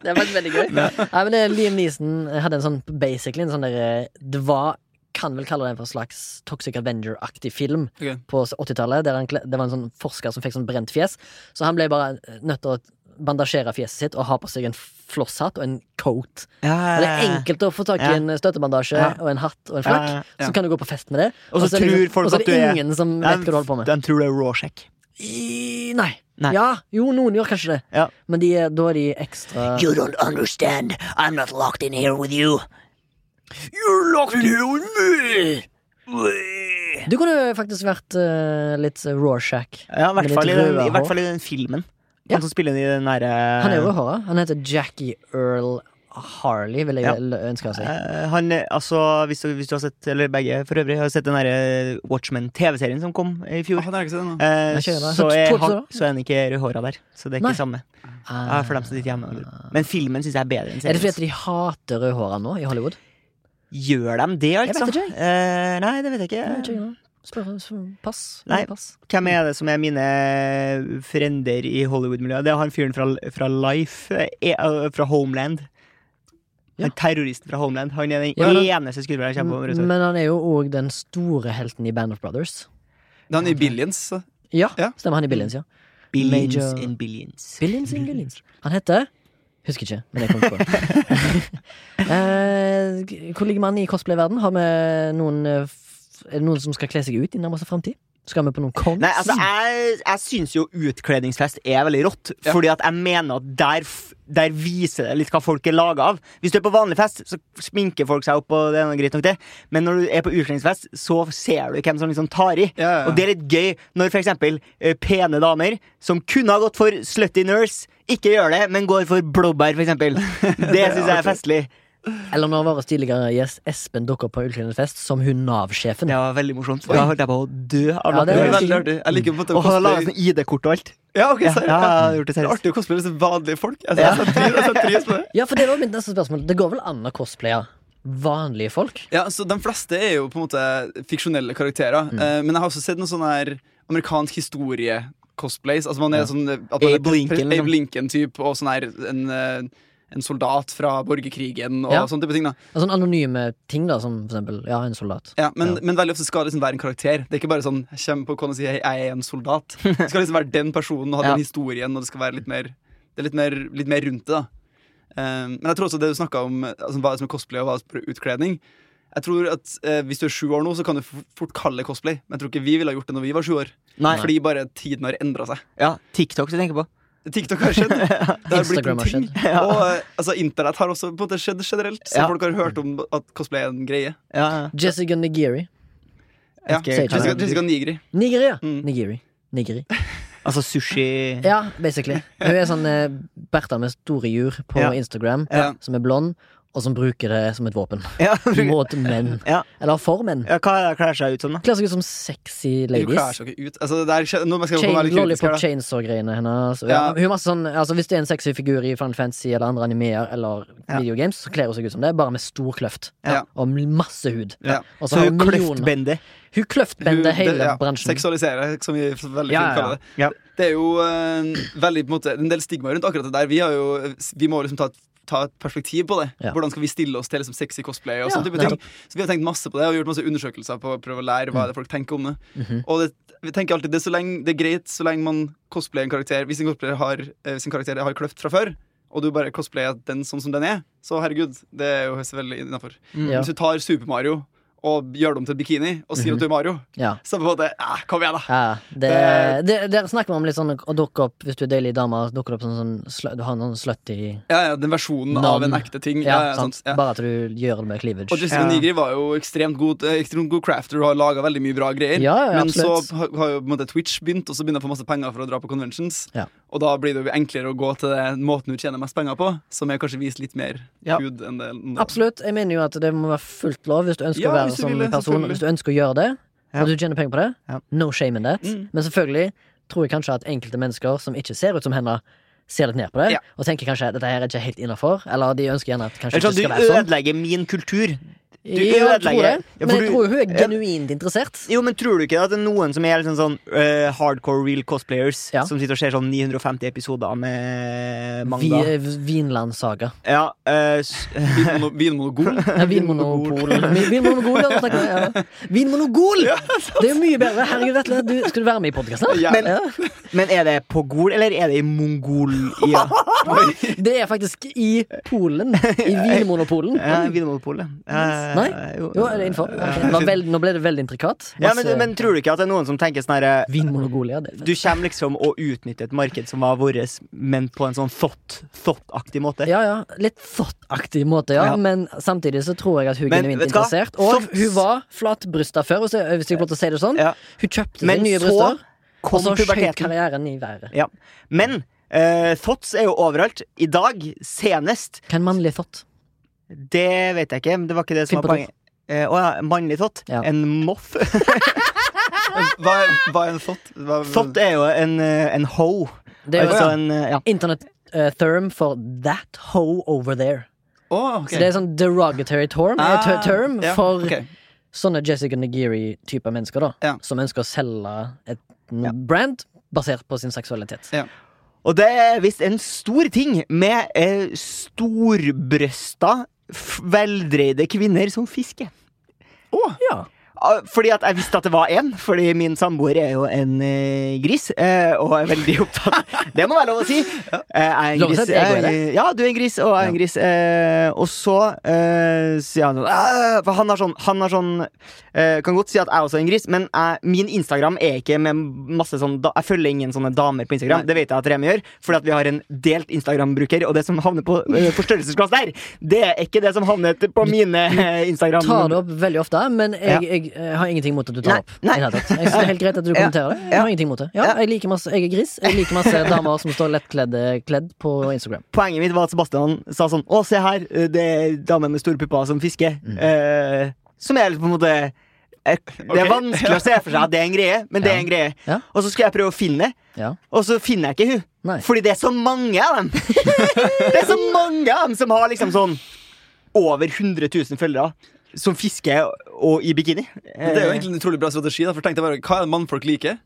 Speaker 1: Det var veldig gøy. Nei, men det, er Liam Neeson hadde en sånn basically en sånn der, eh, Det var kan vel kalle det for en slags Toxic Avenger-aktig film
Speaker 3: Ok.
Speaker 1: på 80-tallet. der han kle- Det var en sånn forsker som fikk sånn brent fjes, så han ble bare eh, nødt til å bandasjere fjeset sitt og ha på seg en flosshatt og en coat. Og det er enkelt å få tak i
Speaker 2: Ja.
Speaker 1: en støttebandasje
Speaker 2: Ja.
Speaker 1: og en hatt og en
Speaker 2: Ja, ja,
Speaker 1: flakk,
Speaker 3: ja.
Speaker 1: så kan du gå på fest med det.
Speaker 2: Og så
Speaker 1: er det
Speaker 2: tror
Speaker 1: liksom-
Speaker 2: folk
Speaker 1: og så
Speaker 2: at
Speaker 1: er
Speaker 2: du er-
Speaker 1: det ingen som vet hva du holder på med.
Speaker 2: De tror det er raw check.
Speaker 1: I, nei.
Speaker 2: Nei.
Speaker 1: Ja, jo, noen gjør kanskje det,
Speaker 2: Ja.
Speaker 1: men de, er- da er de ekstra
Speaker 4: You don't understand. I'm not locked in here with you. You're locked in here with me.
Speaker 1: Du kunne faktisk vært eh, litt Rorschach.
Speaker 2: Ja, i hvert
Speaker 1: Med
Speaker 2: fall i,
Speaker 1: litt
Speaker 2: den,
Speaker 1: røde
Speaker 2: i hvert
Speaker 1: hår.
Speaker 2: fall i den filmen.
Speaker 1: Ja.
Speaker 2: Han som spiller i den derre
Speaker 1: Han er rødhåra. Han heter Jackie Earl Harley vil jeg
Speaker 2: Ja.
Speaker 1: vel ønske å si.
Speaker 2: Eh, Han, eh, altså, hvis du, hvis du har sett, eller begge for øvrig, har sett den derre Watchmen-TV-serien som kom i
Speaker 3: Ah,
Speaker 2: fjor,
Speaker 3: den har jeg ikke sett ennå.
Speaker 2: eh,
Speaker 1: Jeg kjenner det.
Speaker 2: så,
Speaker 1: To
Speaker 2: er
Speaker 1: episoder,
Speaker 2: han,
Speaker 1: da?
Speaker 2: så er han ikke rødhåra der. Så det er
Speaker 1: Nei.
Speaker 2: ikke samme. Ja,
Speaker 1: Ah.
Speaker 2: for dem som sitter hjemme. Men filmen syns jeg er bedre enn
Speaker 1: Er det fordi
Speaker 2: serien.
Speaker 1: at de hater rødhåra nå i Hollywood?
Speaker 2: Gjør de det,
Speaker 1: vet
Speaker 2: altså?
Speaker 1: ikke, jeg.
Speaker 2: Eh, nei, det vet jeg
Speaker 1: Jeg vet
Speaker 2: ikke.
Speaker 1: ikke, ja. Spør, spør, pass.
Speaker 2: Nei.
Speaker 1: pass.
Speaker 2: Hvem er det som er mine frender i Hollywood-miljøet? Det er han fyren fra, fra Life, eh, eh, fra Homeland.
Speaker 1: Ja.
Speaker 2: Han Terroristen fra Homeland. Han er den
Speaker 1: Ja, men
Speaker 2: eneste skuespilleren jeg kommer på. rødt hår.
Speaker 1: Men han er jo òg den store helten i Band of Brothers.
Speaker 3: Det er han i Billions. så.
Speaker 1: Ja,
Speaker 3: Ja.
Speaker 1: stemmer han i Billions, ja.
Speaker 2: Billions
Speaker 1: Major-
Speaker 2: and billions.
Speaker 1: Billions in Billions. Han heter Husker ikke, men jeg kom på det. Eh, g- Hvor ligger man i cosplay-verden? Har vi noen eh, f- Er det noen som skal kle seg ut i nærmeste framtid? Skal vi på noen cons?
Speaker 2: Nei, altså, jeg, jeg syns jo utkledningsfest er veldig rått.
Speaker 3: Ja.
Speaker 2: Fordi at jeg mener at der, f- der viser det litt hva folk er laga av. Hvis du er på vanlig fest, så sminker folk seg opp, og det er noe greit nok, det. Men når du er på utkledningsfest, så ser du hvem som liksom tar i.
Speaker 3: Ja, ja, ja.
Speaker 2: Og det er litt gøy når for eksempel eh, pene damer som kunne ha gått for slutty nurse, ikke gjør det, men går for blåbær, for eksempel. Det syns jeg er festlig.
Speaker 1: Eller når vår tidligere gjest Espen dukker opp på utkledningsfest som hun Nav-sjefen.
Speaker 2: Det var veldig morsomt. Da holdt jeg på å dø av
Speaker 1: Ja, det er
Speaker 3: Det er
Speaker 2: latter.
Speaker 3: veldig artig. Jeg liker på en måte å
Speaker 2: Og han laga
Speaker 3: cosplaye
Speaker 2: sånn ID-kort og alt.
Speaker 3: Ja, ok,
Speaker 2: Ja,
Speaker 3: seriøst.
Speaker 2: ja, jeg har gjort det
Speaker 3: Det er
Speaker 2: seriøst.
Speaker 3: artig å cosplaye som vanlige folk. Altså, jeg setter pris- jeg setter pris på det.
Speaker 1: Ja, for det var mitt neste spørsmål. Det går vel an å cosplaye vanlige folk?
Speaker 3: Ja, så De fleste er jo på en måte fiksjonelle karakterer.
Speaker 2: Mm.
Speaker 3: Eh, men jeg har også sett noen sånne her amerikansk historie-cosplays. Altså man er sånn at man er
Speaker 2: Abe Lincoln, liksom.
Speaker 3: Abe Lincoln-type, og sånn her en, eh, en soldat fra borgerkrigen og
Speaker 1: Ja.
Speaker 3: sånne type ting. da
Speaker 1: Altså sånne anonyme ting, da, som for eksempel Ja, en soldat.
Speaker 3: ja, men,
Speaker 1: Ja.
Speaker 3: men veldig ofte skal det liksom være en karakter. Det er ikke bare sånn jeg kommer på kona og sier «Hei, jeg er en soldat. Det skal liksom være den personen og ha
Speaker 2: Ja.
Speaker 3: den historien, og det skal være litt mer, det er litt mer, litt mer rundt det. da Eh, Men jeg tror også det du snakka om, eh, altså, hva som er cosplay og hva som er utkledning Jeg tror at eh, Hvis du er sju år nå, så kan du f- fort kalle det cosplay, men jeg tror ikke vi ville ha gjort det når vi var sju år.
Speaker 2: Nei.
Speaker 3: Fordi bare tiden har endra seg.
Speaker 2: Ja, TikTok du tenker på.
Speaker 3: TikTok har skjedd. Det har blitt en
Speaker 1: Instagram har
Speaker 3: ting. Og eh, altså, internett har også på en måte skjedd generelt, så
Speaker 2: Ja.
Speaker 3: folk har hørt om at cosplay er en greie.
Speaker 2: Ja, ja.
Speaker 1: Jessica Nigiri.
Speaker 3: Ja.
Speaker 2: Skal jeg-
Speaker 1: Sier
Speaker 3: Jessica,
Speaker 1: ikke
Speaker 3: Jessica Nigri.
Speaker 1: Nigeri, ja.
Speaker 3: Mm.
Speaker 1: Nigiri. Nigiri.
Speaker 2: Altså sushi
Speaker 1: Ja, basically. Hun er sånn eh, Bertha med store jur på
Speaker 2: Ja.
Speaker 1: Instagram,
Speaker 3: Ja.
Speaker 1: som er blond, og som bruker det som et våpen.
Speaker 2: Ja,
Speaker 1: Mot menn.
Speaker 2: Ja.
Speaker 1: Eller for menn.
Speaker 2: ja hva er det kler seg ut som, da?
Speaker 1: Kler seg ut som sexy
Speaker 3: Hun klarer
Speaker 1: ladies.
Speaker 3: seg ikke ut. Altså, det er, skje- nå skal jeg være
Speaker 1: Chain,
Speaker 3: litt kritisk her,
Speaker 1: lollipop
Speaker 3: da.
Speaker 1: chainsaw-greiene hennes. Ja.
Speaker 3: Ja.
Speaker 1: Hun er masse sånn, altså Hvis det er en sexy figur i Final Fantasy eller andre animeer eller
Speaker 2: Ja.
Speaker 1: videogames, så kler hun seg ut som det, bare med stor kløft.
Speaker 3: Ja.
Speaker 1: Og masse hud.
Speaker 3: Ja.
Speaker 1: Og
Speaker 2: Så
Speaker 1: har
Speaker 2: hun
Speaker 1: millioner-
Speaker 2: kløftbender.
Speaker 1: Hun kløftbender
Speaker 3: Hun- det-
Speaker 1: hele
Speaker 3: ja,
Speaker 1: bransjen.
Speaker 3: Seksualisere, som vi veldig
Speaker 1: Ja, ja,
Speaker 3: fint kaller det.
Speaker 2: ja.
Speaker 3: Det er jo eh, veldig, på en, måte, en del stigma rundt akkurat det der. Vi, har jo, vi må liksom ta et Ta et perspektiv på det.
Speaker 1: Ja.
Speaker 3: Hvordan skal vi stille oss til liksom, sexy cosplay? og
Speaker 1: Ja,
Speaker 3: sånne type ting Så Vi har tenkt masse på det og gjort masse undersøkelser på å prøve å lære
Speaker 1: Mm.
Speaker 3: hva er det folk tenker om det.
Speaker 1: Mhm.
Speaker 3: Og det, vi tenker alltid det er, så lenge, det er greit så lenge man cosplayer en karakter Hvis en cosplayer har, eh, hvis en karakter har kløft fra før, og du bare cosplayer den sånn som den er, så herregud, det er jo selvfølgelig innafor.
Speaker 1: Ja.
Speaker 3: Hvis du tar Super Mario og gjør det om til bikini og sier at du er Mario,
Speaker 1: Ja.
Speaker 3: så på en måte eh, Kom igjen, da.
Speaker 1: Mhm. Ja, det,
Speaker 3: Eh,
Speaker 1: det, der snakker vi om litt sånn å dukke opp hvis du er deilig dame. Dukker opp sånn, sånn sl- Du har noen slutty
Speaker 3: Ja, ja, Den versjonen av en
Speaker 1: Navn.
Speaker 3: ekte ting.
Speaker 1: ja,
Speaker 3: Ja, ja,
Speaker 1: sant?
Speaker 3: sant, ja.
Speaker 1: Bare at du gjør det med cleavage.
Speaker 3: Og Jessica
Speaker 2: Ja.
Speaker 3: Nigri var jo ekstremt god, eh, ekstremt god crafter og har laga veldig mye bra greier.
Speaker 1: Ja, ja,
Speaker 3: men så
Speaker 1: absolutt.
Speaker 3: har har jo på en måte Twitch begynt, og så begynner jeg å få masse penger for å dra på conventions.
Speaker 1: Ja.
Speaker 3: Og da blir det jo enklere å gå til den måten du tjener mest penger på, som er kanskje vise litt mer
Speaker 2: Ja.
Speaker 3: hud enn det enn det-
Speaker 1: Absolutt. Jeg mener jo at det må være fullt lov hvis du ønsker
Speaker 3: Ja,
Speaker 1: å være
Speaker 3: hvis du
Speaker 1: som
Speaker 3: vil det,
Speaker 1: person.
Speaker 3: selvfølgelig.
Speaker 1: Hvis du ønsker å gjøre det,
Speaker 2: Ja.
Speaker 1: og du tjener penger på det,
Speaker 2: Ja.
Speaker 1: no shame in that.
Speaker 3: Mm.
Speaker 1: Men selvfølgelig tror jeg kanskje at enkelte mennesker som ikke ser ut som henne, ser litt ned på det,
Speaker 3: Ja.
Speaker 1: og tenker kanskje at dette her er ikke helt innafor. Eller de ønsker gjerne at kanskje
Speaker 2: Eller
Speaker 1: det
Speaker 2: sånn,
Speaker 1: ikke
Speaker 2: du
Speaker 1: skal være sånn.
Speaker 2: ødelegger min kultur.
Speaker 1: Ja, jeg tror det.
Speaker 2: ødelegger- Ja,
Speaker 1: Men jeg
Speaker 2: for du-
Speaker 1: tror jo hun er
Speaker 2: Ja.
Speaker 1: genuint interessert.
Speaker 2: Jo, men tror du ikke at det er noen som er liksom sånn eh, hardcore real cosplayers,
Speaker 1: Ja.
Speaker 2: som sitter og ser sånn 950 episoder med
Speaker 1: Vi,
Speaker 2: manga?
Speaker 1: Vinlandssaga.
Speaker 2: Ja, eh, s-
Speaker 3: Vinmono- Vinmonopol.
Speaker 1: Ja, Vinmonopol. Vi- Vinmonopol, ja. nå snakker jeg, ja. Vinmonopol! Det er jo mye bedre. Herregud, Vetle, du, skal du være med i podkasten?
Speaker 3: Ja.
Speaker 1: Ja.
Speaker 2: men er det på Gol, eller er det i Mongolia?
Speaker 1: Det er faktisk i Polen. I Vinmonopolen.
Speaker 2: Ja, Vinmonopolet. Eh,
Speaker 1: Nei?
Speaker 2: jo.
Speaker 1: Jo, er det innenfor? Ok, det var vel- nå ble det veldig intrikat.
Speaker 2: Ja, men, men tror du ikke at det er noen som tenker sånn herre
Speaker 1: Vinmonopolia, det er
Speaker 2: Du kommer liksom å utnytte et marked som var vårt, men på en sånn thought- thought-aktig måte.
Speaker 1: Ja, ja. Litt thought-aktig måte, ja.
Speaker 2: Ja.
Speaker 1: Men samtidig så tror jeg at hun
Speaker 2: Men,
Speaker 1: genuint
Speaker 2: vet du hva?
Speaker 1: interessert. Og
Speaker 2: Thoughts-
Speaker 1: hun var flatbrysta før, og så- hvis jeg får lov til å si det sånn.
Speaker 2: Ja.
Speaker 1: Hun kjøpte seg
Speaker 2: Men
Speaker 1: nye Altså,
Speaker 2: så
Speaker 1: bryster, og
Speaker 2: kom
Speaker 1: så skjøt
Speaker 2: puberteten.
Speaker 1: karrieren i været.
Speaker 2: Ja. Men Eh, Thoughts er jo overalt. I dag, senest
Speaker 1: Hva er en mannlig thought?
Speaker 2: Det vet jeg ikke, men det var ikke det som
Speaker 1: Finn
Speaker 2: var
Speaker 1: på
Speaker 2: poenget. Eh, Å ja, mannlig thought.
Speaker 1: Ja.
Speaker 2: En moff.
Speaker 3: Hva er, hva er en thought? Hva,
Speaker 2: thought er jo en, eh, en ho.
Speaker 1: Det er jo
Speaker 2: altså
Speaker 1: ja.
Speaker 2: en eh, ja.
Speaker 1: internett eh, term for that hoe over there.
Speaker 3: Å, ok.
Speaker 1: Så det er sånn derogatory term, eh, ter- term
Speaker 3: ja,
Speaker 1: for
Speaker 3: ok.
Speaker 1: sånne Jessica Nagiri-typer mennesker, da.
Speaker 3: Ja.
Speaker 1: Som ønsker å selge et n- brand basert på sin seksualitet.
Speaker 3: ja.
Speaker 2: Og det er visst en stor ting med eh, storbrøsta, f- veldreide kvinner som fisker.
Speaker 1: Ja.
Speaker 2: Ah, Fordi at jeg visste at det var én, fordi min samboer er jo en eh, gris. Eh, og er veldig opptatt Det må være lov å si! Eh, jeg er en
Speaker 1: Lov å si
Speaker 2: gris.
Speaker 1: at jeg går i det.
Speaker 2: eh, ja, du er en gris, og jeg er en gris. Eh, og så eh, sier han sånn «Æ», For han har sånn, han har sånn eh, Kan godt si at jeg også er en gris, men jeg, min Instagram er ikke med masse sånn da, Jeg følger ingen sånne damer på Instagram. Det vet jeg at Remi gjør, fordi at vi har en delt Instagram-bruker, og det som havner på eh, forstørrelsesglass der, det er ikke det som havner på mine eh, Instagram.
Speaker 1: Tar det opp veldig ofte, men jeg,
Speaker 2: Ja.
Speaker 1: jeg, eh, har ingenting mot at du tar
Speaker 2: Nei,
Speaker 1: det opp. i det
Speaker 2: nei.
Speaker 1: hele tatt. Jeg synes det er helt greit at du
Speaker 2: Ja,
Speaker 1: kommenterer det. Jeg
Speaker 2: ja.
Speaker 1: har ingenting mot det. Ja,
Speaker 2: Ja.
Speaker 1: jeg liker masse Jeg er gris. Jeg liker masse damer som står lettkledde kledd på Instagram.
Speaker 2: poenget mitt var at Sebastian sa sånn Å, se her, det er damer med store pupper som fisker. Eh, som er litt på en måte eh, Det er
Speaker 3: Ok.
Speaker 2: vanskelig å se for seg at det er en greie, men det er en greie.
Speaker 1: Ja.
Speaker 2: Og så skal jeg prøve å finne det,
Speaker 1: Ja.
Speaker 2: og så finner jeg ikke hun.
Speaker 1: Nei.
Speaker 2: Fordi det er så mange av dem! det er så mange av dem som har liksom sånn over 100 000 følgere. Som fisker og i bikini.
Speaker 3: Men Det er jo egentlig en utrolig bra strategi. Da, for tenk deg bare, Hva er det mannfolk liker?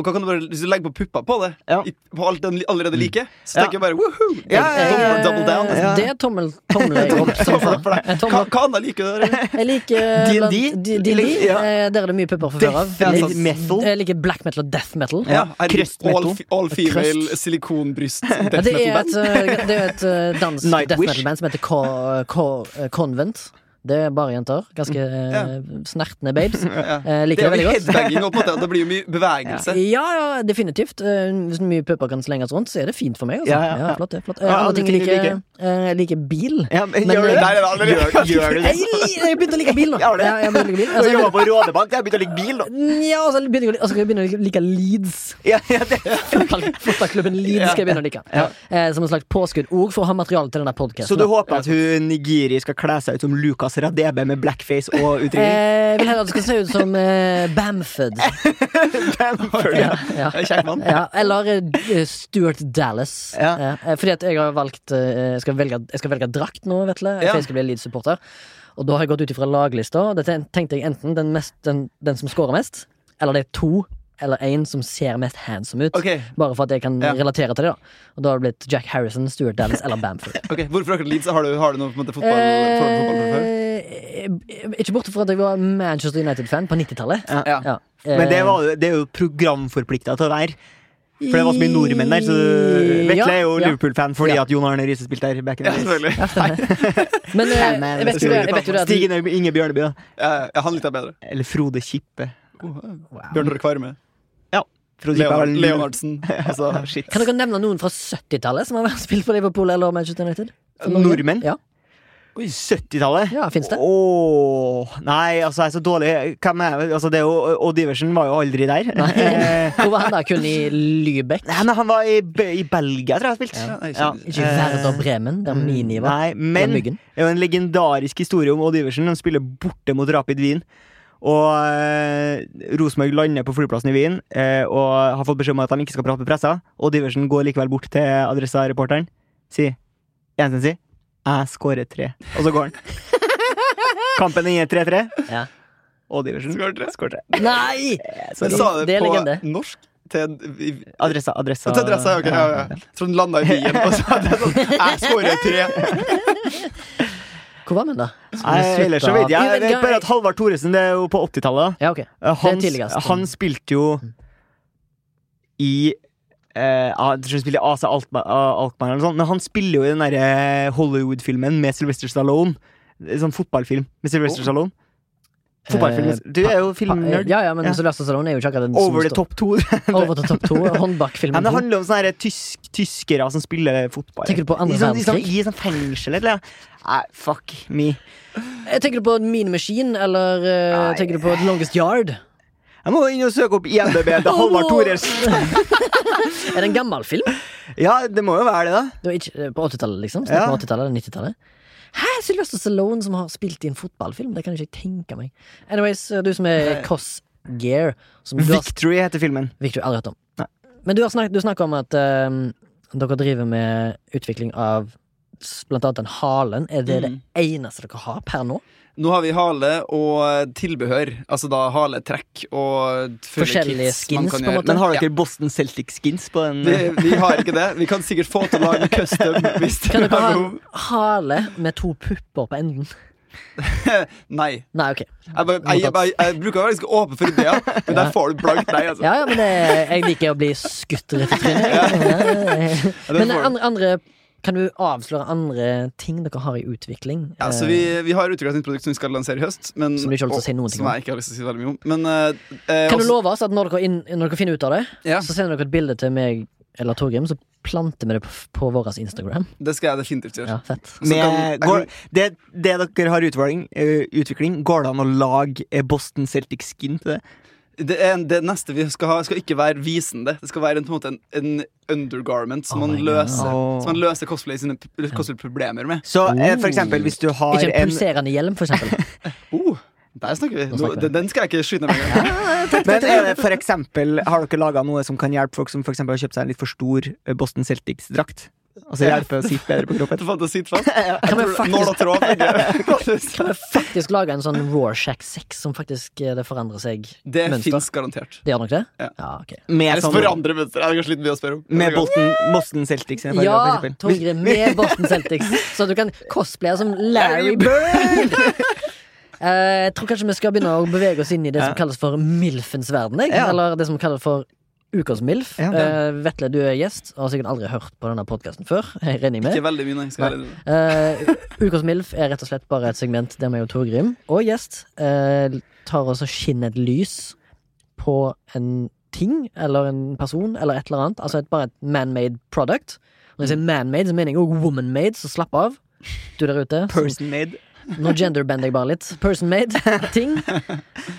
Speaker 3: Og hva kan du bare, Hvis du legger på puppa på det,
Speaker 2: Ja.
Speaker 3: i, på alt den li- allerede
Speaker 1: Mm.
Speaker 3: liker, så
Speaker 2: Ja.
Speaker 3: tenker jeg bare woohoo!
Speaker 2: Ja, ja, ja,
Speaker 3: Double, double down.
Speaker 1: Eh,
Speaker 3: Liksom.
Speaker 2: Ja.
Speaker 1: Det er tommel, tommel jeg opp som
Speaker 3: Tommel opp for
Speaker 1: faen.
Speaker 3: deg.
Speaker 1: En
Speaker 3: Hva,
Speaker 1: tommel opp.
Speaker 3: hva annet liker du? der?
Speaker 1: Jeg liker eh,
Speaker 2: D&D?
Speaker 1: blant- D- D&D.
Speaker 2: Ja.
Speaker 1: eh, Der er det mye pupper fra før av.
Speaker 2: Death
Speaker 1: Jeg-
Speaker 2: metal.
Speaker 1: Jeg liker black metal og death metal.
Speaker 2: Ja,
Speaker 3: herregud,
Speaker 2: krøst metal.
Speaker 3: All, fi- all female
Speaker 1: Krøst.
Speaker 3: silikonbryst
Speaker 1: Ja,
Speaker 3: death
Speaker 1: det, er et,
Speaker 3: metal-band.
Speaker 1: eh, det er et eh, dansk
Speaker 2: Nightwish.
Speaker 1: death metal-band som heter Ko Ko eh, Convent. Det er bare jenter. Ganske
Speaker 2: Mm.
Speaker 1: eh, snertne babes. Eh,
Speaker 3: Det
Speaker 1: liker det
Speaker 3: er
Speaker 1: veldig
Speaker 3: jo
Speaker 1: godt.
Speaker 3: headbanging, og på en måte, og det blir jo mye bevegelse.
Speaker 1: Ja, ja, definitivt. Eh, hvis mye pupper kan slenges rundt, så er det fint for meg. Altså.
Speaker 2: Ja, ja, ja.
Speaker 1: flott, det, flott. Eh, andre
Speaker 2: Ja, andre
Speaker 1: ting
Speaker 2: ting
Speaker 1: jeg
Speaker 2: du
Speaker 1: liker,
Speaker 2: liker.
Speaker 1: eh, jeg liker bil.
Speaker 2: ja, men,
Speaker 1: Men,
Speaker 2: gjør
Speaker 1: eh,
Speaker 2: du det?
Speaker 3: der er det allerede-
Speaker 2: Gjør, gjør du det?
Speaker 1: Jeg, li- jeg begynte å like bil nå.
Speaker 2: Gjør du det?
Speaker 1: Ja, jeg begynte å like bil.
Speaker 2: Du
Speaker 1: Altså, liksom. jeg
Speaker 2: jobber på Rådebank, jeg har begynt å ligge bil nå.
Speaker 1: begynte- ja, og så begynte jeg å li- og så skal jeg begynne å like Leeds.
Speaker 2: Ja, ja, det.
Speaker 1: Fotball- Fotballklubben Leeds skal jeg begynne å like. Eh, som et slags påskudd òg for å ha materiale til denne
Speaker 2: Så
Speaker 1: podkasten.
Speaker 2: du håper at hun Nigiri skal kle seg ut som Lucas Radebe med blackface og utringning?
Speaker 1: Eh, jeg vil heller at det skal se ut som eh, Bamford.
Speaker 2: ja.
Speaker 1: Ja.
Speaker 3: Jeg er Kjekk mann.
Speaker 1: Ja, eller eh, Stuart Dallas.
Speaker 2: Ja.
Speaker 1: Eh, fordi at jeg har valgt eh, jeg, skal velge, jeg skal velge drakt nå, Vetle.
Speaker 3: Ja.
Speaker 1: For jeg skal bli Leeds-supporter. Og da har jeg gått ut ifra laglista. og Det ten- tenkte jeg enten den, mest, den, den som scorer mest, eller det er to eller én som ser mest handsome ut.
Speaker 3: Ok.
Speaker 1: Bare for at jeg kan
Speaker 3: Ja.
Speaker 1: relatere til det. da Og da har det blitt Jack Harrison, Stuart Dallas eller Bamford.
Speaker 3: Ok, Hvorfor akkurat Leeds? Har du, har du noe på en måte fotball, forhold til fotball fra før?
Speaker 1: Eh, ikke borte fra at jeg var Manchester United-fan på 90-tallet.
Speaker 2: Ja.
Speaker 1: Ja.
Speaker 2: Men det, var, jo- det er jo programforplikta til å være. For det var så mye nordmenn der. Så Vetle er jo Liverpool-fan fordi
Speaker 1: Ja.
Speaker 2: at Jon Arne Riise spilte her. Back in
Speaker 3: Ja,
Speaker 2: the days.
Speaker 3: selvfølgelig.
Speaker 1: Men eh,
Speaker 2: Fan, man.
Speaker 1: jeg vet jo det, jeg vet jo det at
Speaker 2: Stig Inge Inge Bjørneby, da.
Speaker 3: Ja, ja, han likte jeg bedre.
Speaker 2: Eller Frode Kippe.
Speaker 3: Bjørn Tore Kvarme.
Speaker 2: Frode Kippe er
Speaker 3: Leonard,
Speaker 2: vel-
Speaker 3: Leonardsen. Altså, shit.
Speaker 1: Kan dere nevne noen fra 70-tallet som har vært spilt for Liverpool eller Manchester United? For Norge?
Speaker 2: Nordmenn?
Speaker 1: Ja,
Speaker 2: 70-tallet?
Speaker 1: ja fins det?
Speaker 2: Åh, nei, altså, jeg er så dårlig. Hvem er altså, det? er jo- Odd Iversen var jo aldri der. Eh,
Speaker 1: Hvor var han da? Kun i Lübeck?
Speaker 2: Nei, men han var i, Be- i Belgia, tror jeg han spilte.
Speaker 3: Ja, nei, skjønner.
Speaker 1: Ikke i Werder Bremen, der Mini var?
Speaker 2: Eh, mm, Nei, men
Speaker 1: myggen.
Speaker 2: det er jo en legendarisk historie om Odd Iversen. Han spiller borte mot Rapid Wien. Og eh, Rosenborg lander på flyplassen i Wien eh, og har fått beskjed om at de ikke skal prate med pressa. Odd Iversen går likevel bort til adressa-reporteren. Sier Jensen sier 'Jeg skårer tre', og så går han. Kampen er 3-3.
Speaker 1: Ja.
Speaker 2: Odd Iversen
Speaker 3: Skårer tre.
Speaker 2: skårer tre.
Speaker 1: Nei!
Speaker 3: Men sa du
Speaker 1: Det er
Speaker 3: på
Speaker 1: legende.
Speaker 3: norsk? Til, i,
Speaker 2: Adressa, adressa.
Speaker 3: til adressa, ok. Ja, ja. Jeg tror den landa i byen, og så hadde jeg sånn Jeg scorer tre!
Speaker 1: Hvor var vi da?
Speaker 2: Nei, ellers så vet jeg, jeg vet bare at Halvard Thoresen det er jo på 80-tallet.
Speaker 1: Ja, ok.
Speaker 2: Han,
Speaker 1: tidligst.
Speaker 2: han spilte jo i eh, han tror han spilte i AC Alkmaar, Alkmaar eller noe sånt, men han spiller jo i den der eh, Hollywood-filmen med Sylvester Stallone. En Sånn fotballfilm med Sylvester
Speaker 3: Oh.
Speaker 2: Stallone. Fotballfilm.
Speaker 1: Eh,
Speaker 2: Du er jo
Speaker 1: Pa-
Speaker 2: filmnerd.
Speaker 1: Ja, ja, men
Speaker 2: Ja.
Speaker 1: Sylvester Stallone er jo ikke akkurat den som
Speaker 2: Over the
Speaker 1: står-
Speaker 2: top 2.
Speaker 1: Over the top 2.
Speaker 2: Ja, men
Speaker 1: Håndbakfilmen
Speaker 2: det
Speaker 1: 2.
Speaker 2: handler om sånne her tysk, tyskere som spiller fotball.
Speaker 1: Tenker du på andre
Speaker 2: I sånn, i sånn,
Speaker 1: verdenskrig?
Speaker 2: I sånn fengsel, eller? ja. Nei, fuck me.
Speaker 1: Eh, Tenker du på Mean Machine, eller eh, tenker du på The Longest Yard?
Speaker 2: Jeg må inn og søke opp IMDb til Halvard Thoresen.
Speaker 1: Er det en gammel film?
Speaker 2: Ja, det må jo være det, da.
Speaker 1: Det var ikke, eh, på 80-tallet, liksom? Snakk om
Speaker 2: Ja.
Speaker 1: 80-tallet eller 90-tallet? Hæ, Sylvester Stallone som har spilt i en fotballfilm? Det kan jeg ikke tenke meg. Anyways, eh, du som er Koss Gear som du har,
Speaker 2: Victory heter filmen.
Speaker 1: Victor, aldri hørt om.
Speaker 2: Nei.
Speaker 1: Men du, har snakket, du snakker om at ehm, dere driver med utvikling av s- blant annet den halen. Er det det
Speaker 3: Mm.
Speaker 1: eneste dere har per nå?
Speaker 3: Nå har vi hale og tilbehør. Altså da haletrekk og fulle
Speaker 1: Forskjellige
Speaker 3: kits man
Speaker 1: skins,
Speaker 3: kan
Speaker 1: på en
Speaker 3: gjøre.
Speaker 1: måte.
Speaker 2: Men har dere Boston Celtic skins på den? eh,
Speaker 3: Vi, vi har ikke det. Vi kan sikkert få til å lage en custom hvis det
Speaker 1: Kan
Speaker 3: er
Speaker 1: dere ha
Speaker 3: behov.
Speaker 1: en hale med to pupper på enden?
Speaker 3: Nei.
Speaker 1: Nei, ok.
Speaker 3: Jeg, bare, jeg, jeg, jeg, jeg bruker å være ganske åpen for ideer, men der får du blankt nei. Altså.
Speaker 1: Ja, ja, men det, jeg liker å bli skutt rett i trynet. jeg.
Speaker 3: Ja, den
Speaker 1: Men
Speaker 3: får du.
Speaker 1: andre, andre Kan du avsløre andre ting dere har i utvikling?
Speaker 3: Ja, så
Speaker 1: Eh,
Speaker 3: vi, vi har utvikla et nytt produkt som vi skal lansere i høst. Men,
Speaker 1: Som du ikke har lyst til å si noen
Speaker 3: og-
Speaker 1: ting
Speaker 3: som
Speaker 1: om.
Speaker 3: jeg ikke har lyst til å si veldig mye om. Men, eh, eh,
Speaker 1: Kan du
Speaker 3: også-
Speaker 1: love oss at når dere, inn, når dere finner ut av det,
Speaker 3: Ja,
Speaker 1: så sender dere et bilde til meg eller Torgrim, så planter vi det på, på vår Instagram.
Speaker 3: det skal jeg definitivt gjøre.
Speaker 1: Ja, fett.
Speaker 3: Så
Speaker 2: Med,
Speaker 3: kan- jeg
Speaker 2: går,
Speaker 3: kan-
Speaker 2: det, det dere har utvikling, eh, utvikling, går det an å lage eh, Boston Celtic skin til det?
Speaker 3: Det, er en, det neste vi skal ha, skal ikke være visende. Det skal være en, på en, måte en, en undergarment som,
Speaker 1: Oh my
Speaker 3: man
Speaker 1: God.
Speaker 3: løser,
Speaker 2: Åh.
Speaker 3: som man løser cosplay sine p- cosplay-problemer med.
Speaker 2: Så eh,
Speaker 1: Oh.
Speaker 2: for eksempel hvis du har
Speaker 1: Ikke en
Speaker 2: en
Speaker 1: pulserende hjelm, for eksempel.
Speaker 3: Oh, der snakker vi.
Speaker 1: Nå
Speaker 3: Nå,
Speaker 1: snakker vi.
Speaker 3: den, den skal jeg ikke skyte ned med en gang.
Speaker 2: Men er det for eksempel, har dere laga noe som kan hjelpe folk som for eksempel har kjøpt seg en litt for stor eh, Boston Celtics-drakt? Altså hjelpe å sitte bedre på
Speaker 3: Det
Speaker 2: kroppen?
Speaker 3: fant jeg sitt fast. Jeg
Speaker 1: Kan vi
Speaker 3: tror det- Nål og tråd fungerer.
Speaker 1: Kan vi faktisk lage en sånn Rorschach 6 som faktisk eh, det forandrer seg?
Speaker 3: Det
Speaker 1: Mønster.
Speaker 3: fins garantert.
Speaker 1: Det gjør nok det?
Speaker 3: Ja.
Speaker 1: ok.
Speaker 2: Med,
Speaker 3: Eller
Speaker 2: sånn,
Speaker 3: forandre mønster. Jeg har kanskje litt mye å spørre om.
Speaker 2: med Boston, Boston Celtics. sine farger, for
Speaker 1: Ja,
Speaker 2: eksempel.
Speaker 1: Torgrim, med Boston Celtics. Så du kan cosplaye som Larry Bird. Eh, Jeg tror kanskje vi skal begynne å bevege oss inn i det som
Speaker 2: Ja.
Speaker 1: kalles for Milfens verden. Jeg.
Speaker 2: Ja.
Speaker 1: Eller det som kalles for Ukas Milf.
Speaker 2: Ja, det.
Speaker 1: Eh, Vetle, du er gjest og har sikkert aldri hørt på denne podkasten før. Jeg regner
Speaker 3: Ikke
Speaker 1: med
Speaker 3: veldig mye, nei. Skal jeg være ærlig.
Speaker 1: Eh, Ukas Milf er rett og slett bare et segment der vi og Torgrim og gjest eh, tar oss og skinner et lys på en ting eller en person eller et eller annet. Altså et, bare et man-made product. Når jeg sier man-made, så mener jeg også woman-made, så slapp av. Du der ute. som-
Speaker 2: Person made.
Speaker 1: Nå genderbender jeg bare litt. Person-made ting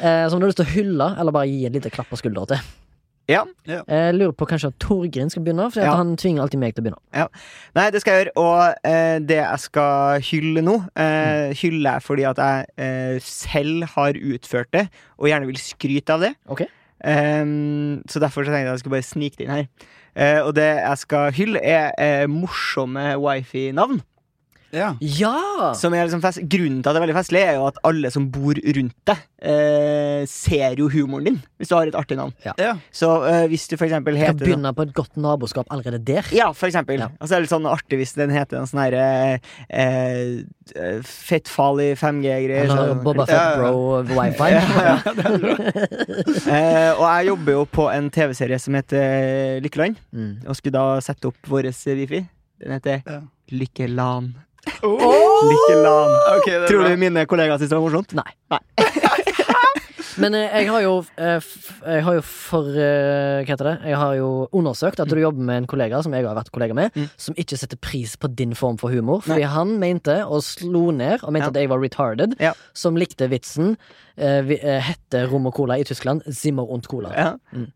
Speaker 1: eh, som du har lyst til å hylle eller bare gi et lite klapp på skuldra til.
Speaker 2: Ja.
Speaker 1: Jeg lurer på kanskje at Torgrim skal begynne, for
Speaker 2: Ja.
Speaker 1: han tvinger alltid meg til å begynne.
Speaker 2: Nei, det skal jeg gjøre. Og eh, det jeg skal hylle nå,
Speaker 1: Mm.
Speaker 2: eh, hyller jeg fordi at jeg eh, selv har utført det, og gjerne vil skryte av det.
Speaker 1: Ok.
Speaker 2: Ehm, så derfor så tenkte jeg at jeg skulle bare snike det inn her. Eh, og det jeg skal hylle, er eh, morsomme wifi-navn.
Speaker 3: Ja.
Speaker 1: Ja!
Speaker 2: Som er liksom fest Grunnen til at det er veldig festlig, er jo at alle som bor rundt deg, eh, ser jo humoren din. Hvis du har et artig navn.
Speaker 3: Ja.
Speaker 2: Så eh, hvis du for eksempel
Speaker 1: Kan
Speaker 2: heter
Speaker 1: begynne på et godt naboskap allerede der.
Speaker 2: Ja, for eksempel.
Speaker 1: Ja.
Speaker 2: Og så er det litt sånn artig hvis den heter en sånn herre eh, eh, Fettfarlig 5G-greier.
Speaker 1: Eller
Speaker 2: så-
Speaker 1: Boba
Speaker 3: Ja, ja.
Speaker 1: Fett Bro over wifi.
Speaker 2: Eh, og jeg jobber jo på en TV-serie som heter Lykkeland,
Speaker 1: Mm.
Speaker 2: og skulle da sette opp vår wifi. Den heter
Speaker 3: Ja.
Speaker 2: Lykkelan.
Speaker 3: Oh,
Speaker 2: Lykkelan.
Speaker 3: ok, det er
Speaker 2: Tror
Speaker 3: bra.
Speaker 2: du mine kollegaer syns det var morsomt?
Speaker 1: Nei. Men eh, jeg har jo eh, f- Jeg har jo for eh, Hva heter det? Jeg har jo undersøkt at du jobber med en kollega som jeg har vært kollega med,
Speaker 2: Mm.
Speaker 1: som ikke setter pris på din form for humor. Fordi han mente, og slo ned, og mente
Speaker 2: Ja.
Speaker 1: at jeg var retarded,
Speaker 2: Ja.
Speaker 1: som likte vitsen eh, vi, eh, hette rom og cola i Tyskland Zimmer und cola.
Speaker 2: Ja.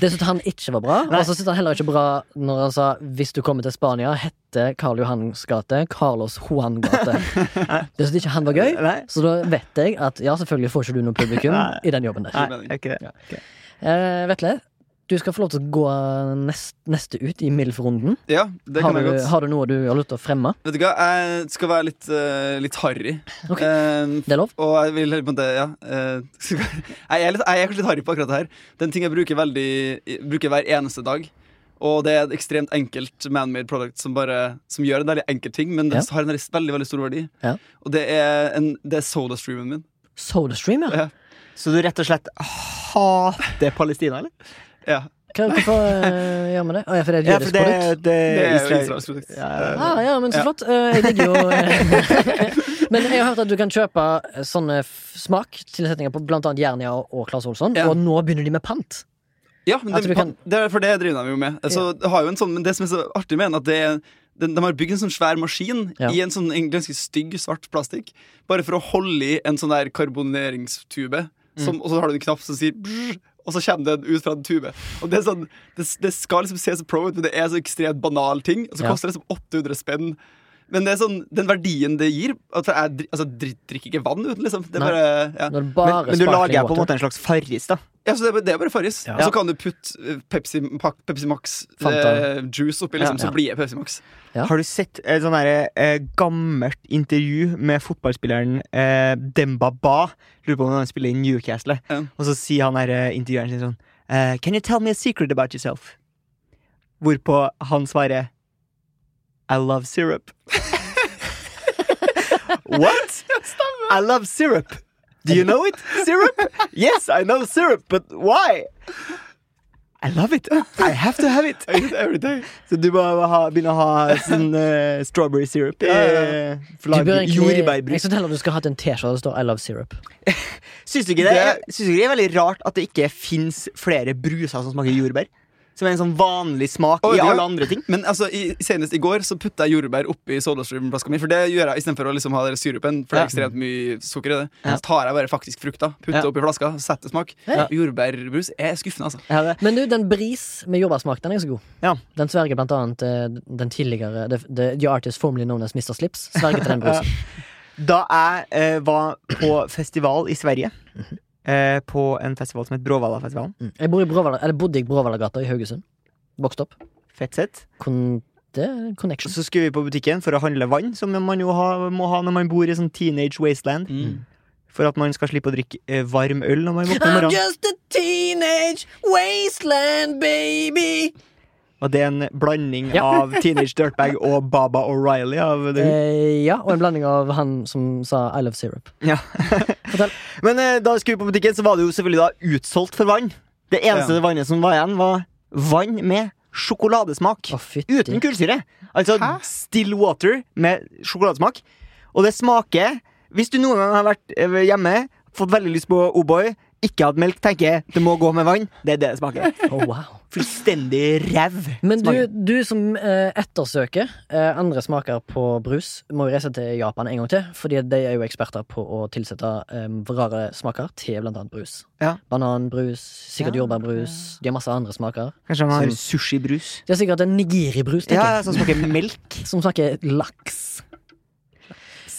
Speaker 1: Det syntes han ikke var bra.
Speaker 2: Nei.
Speaker 1: Og så syntes han heller ikke bra når han sa hvis du kommer til Spania, hette Karl Johans gate Carlos Juan gate. Det syntes ikke han var gøy.
Speaker 2: Nei.
Speaker 1: Så da vet jeg at ja, selvfølgelig får ikke du noe publikum
Speaker 2: Nei.
Speaker 1: i den jobben der.
Speaker 2: Nei, jeg er ikke det.
Speaker 1: Eh, Vetle, du skal få lov til å gå nest, neste ut i MILF-runden.
Speaker 3: Ja, det
Speaker 1: Har,
Speaker 3: kan jeg
Speaker 1: du-
Speaker 3: godt.
Speaker 1: har du noe du har lyst til å fremme?
Speaker 3: Vet du hva, jeg skal være litt, eh, litt harry.
Speaker 1: Ok.
Speaker 3: Eh,
Speaker 1: Det er lov?
Speaker 3: og jeg vil på det, ja. eh, skal- jeg, er litt, jeg er kanskje litt harry på akkurat det her. Den ting jeg bruker, veldig, bruker hver eneste dag. Og det er et ekstremt enkelt man-made product som, bare, som gjør en veldig enkel ting, men det
Speaker 1: Ja.
Speaker 3: har en veldig, veldig, veldig stor verdi.
Speaker 1: Ja.
Speaker 3: Og det er, en, det er sodastreamen min.
Speaker 1: Sodastream, ja.
Speaker 3: Ja.
Speaker 2: Så du rett og slett hater Palestina, eller?
Speaker 3: Ja.
Speaker 1: Hva hvorfor, eh, gjør vi det? Å ja, for det er et
Speaker 2: Ja, for
Speaker 1: jødisk
Speaker 2: det,
Speaker 1: produkt?
Speaker 2: det
Speaker 3: Det er jo
Speaker 2: Israel-
Speaker 3: Israels produkt.
Speaker 2: Ja,
Speaker 3: Eh,
Speaker 1: Ah, ja, men så
Speaker 3: Ja.
Speaker 1: flott. Eh, jeg digger jo eh, Men jeg har hørt at du kan kjøpe eh, sånne f- smaktilsetninger på blant annet Jernia og- og Claes Olsson,
Speaker 3: Ja.
Speaker 1: og nå begynner de med pant.
Speaker 3: Ja, men
Speaker 1: At
Speaker 3: det,
Speaker 1: du kan-
Speaker 3: det er for det driver de jo med. Altså, det har jo en sånn, men det som er så artig med den, at det er de, de har bygd en sånn svær maskin
Speaker 1: Ja.
Speaker 3: i en sånn en ganske stygg, svart plastikk. Bare for å holde i en sånn der karboneringstube. som,
Speaker 1: Mm.
Speaker 3: og så har du en knapp som sier brrr, og så kommer den ut fra en tube. Og Det er sånn, det, det skal liksom se så pro ut, men det er så ekstremt banal ting. Og så
Speaker 1: Ja.
Speaker 3: koster det som 800 spenn. Men det er sånn, den verdien det gir at jeg dri- altså, dri- drikker ikke vann uten, liksom. Det er
Speaker 1: Nei.
Speaker 3: bare, ja.
Speaker 1: Når det
Speaker 2: Men,
Speaker 1: bare
Speaker 2: men du
Speaker 1: sparkling
Speaker 2: lager på en
Speaker 1: water.
Speaker 2: måte en slags farris, da.
Speaker 3: Ja, så det, er bare- det er bare Farris.
Speaker 1: Ja.
Speaker 3: Og så kan du putte eh, Pepsi, pak- Pepsi Max
Speaker 1: Fanta.
Speaker 3: eh, juice oppi, liksom,
Speaker 1: Ja.
Speaker 3: så blir det Pepsi Max.
Speaker 1: Ja.
Speaker 2: Har du sett et sånn derre, eh, gammelt intervju med fotballspilleren eh, Demba Ba? Lurer på om han spiller i Newcastle.
Speaker 3: Ja.
Speaker 2: Og så sier han der, eh, intervjueren sin sånn eh, Can you tell me a secret about yourself? Hvorpå han svarer I love syrup. What? I love syrup. Do you know it? Syrup? Yes, I know syrup, but why? I love it. I have to have it.
Speaker 3: I eat it every day.
Speaker 2: Så du må ha, begynne å ha sånn eh, strawberry syrup i
Speaker 3: Ja, ja,
Speaker 2: eh,
Speaker 1: Du
Speaker 2: flagg-
Speaker 1: bør egentlig liksom- Jeg
Speaker 2: jordbærbrus.
Speaker 1: synes heller du skal ha hatt en T-skjorte der det står I love syrup.
Speaker 2: Syns du ikke det, er- syns du ikke det er veldig rart at det ikke fins flere bruser som smaker jordbær? Som er en sånn vanlig smak
Speaker 3: Å,
Speaker 2: i
Speaker 3: ja.
Speaker 2: alle andre ting.
Speaker 3: Men altså, i, senest i går så putta jeg jordbær oppi sodastream-flaska mi. For det gjør jeg istedenfor å liksom ha den syrupen, for det er
Speaker 2: Ja.
Speaker 3: ekstremt mye sukker i det.
Speaker 2: Ja.
Speaker 3: Så tar jeg bare faktisk frukta, putter
Speaker 2: Ja.
Speaker 3: oppi flaska, setter smak.
Speaker 1: Ja.
Speaker 3: Jordbærbrus er skuffende, altså.
Speaker 2: Ja, det.
Speaker 1: Men du, den bris med jordbærsmak, den er ganske god.
Speaker 2: Ja.
Speaker 1: Den sverger blant annet eh, den tidligere The, the, the Artist formerly known as Mr. Slips. Sverger til den brusen.
Speaker 2: Da jeg eh, var på festival i Sverige, eh, på en festival som het Bråvallafestivalen,
Speaker 1: Mm. Jeg bor i Bråvala, eller bodde i Bråvallagata i Haugesund. Vokst opp.
Speaker 2: fett sett,
Speaker 1: Kon det er en connection.
Speaker 2: så skulle vi på butikken for å handle vann, som man jo ha, må ha når man bor i sånn teenage wasteland. For at man skal slippe å drikke eh, varm øl når man våkner om morgenen.
Speaker 1: just a teenage wasteland baby.
Speaker 2: Og det er en blanding
Speaker 1: Ja.
Speaker 2: av Teenage Dirtbag og Baba O'Reilly. Av det.
Speaker 1: Eh, ja, og en blanding av han som sa I love syrup.
Speaker 2: Ja.
Speaker 1: Fortell.
Speaker 2: Men eh, da vi skulle på butikken, så var det jo selvfølgelig da utsolgt for vann. Det eneste
Speaker 3: Ja.
Speaker 2: vannet som var igjen, var vann med sjokoladesmak.
Speaker 1: Å, fytti.
Speaker 2: Uten kullsyre. Altså
Speaker 3: Hæ?
Speaker 2: still water med sjokoladesmak. Og det smaker Hvis du noen gang har vært eh, hjemme, fått veldig lyst på O'boy, ikke hatt melk, tenker jeg, det må gå med vann. Det er det det smaker.
Speaker 1: Å, Oh, wow.
Speaker 2: Fullstendig ræv.
Speaker 1: Men du,
Speaker 2: smaker.
Speaker 1: du som eh, ettersøker eh, andre smaker på brus, må jo reise til Japan en gang til. Fordi de er jo eksperter på å tilsette eh, rare smaker til blant annet brus.
Speaker 2: Ja.
Speaker 1: Bananbrus, sikkert jordbærbrus. De har masse andre smaker.
Speaker 2: Kanskje han har
Speaker 1: Som-
Speaker 2: sushibrus?
Speaker 1: Det er sikkert en nigiribrus, tenker
Speaker 2: Ja, altså.
Speaker 1: jeg.
Speaker 2: som smaker melk.
Speaker 1: Som smaker laks.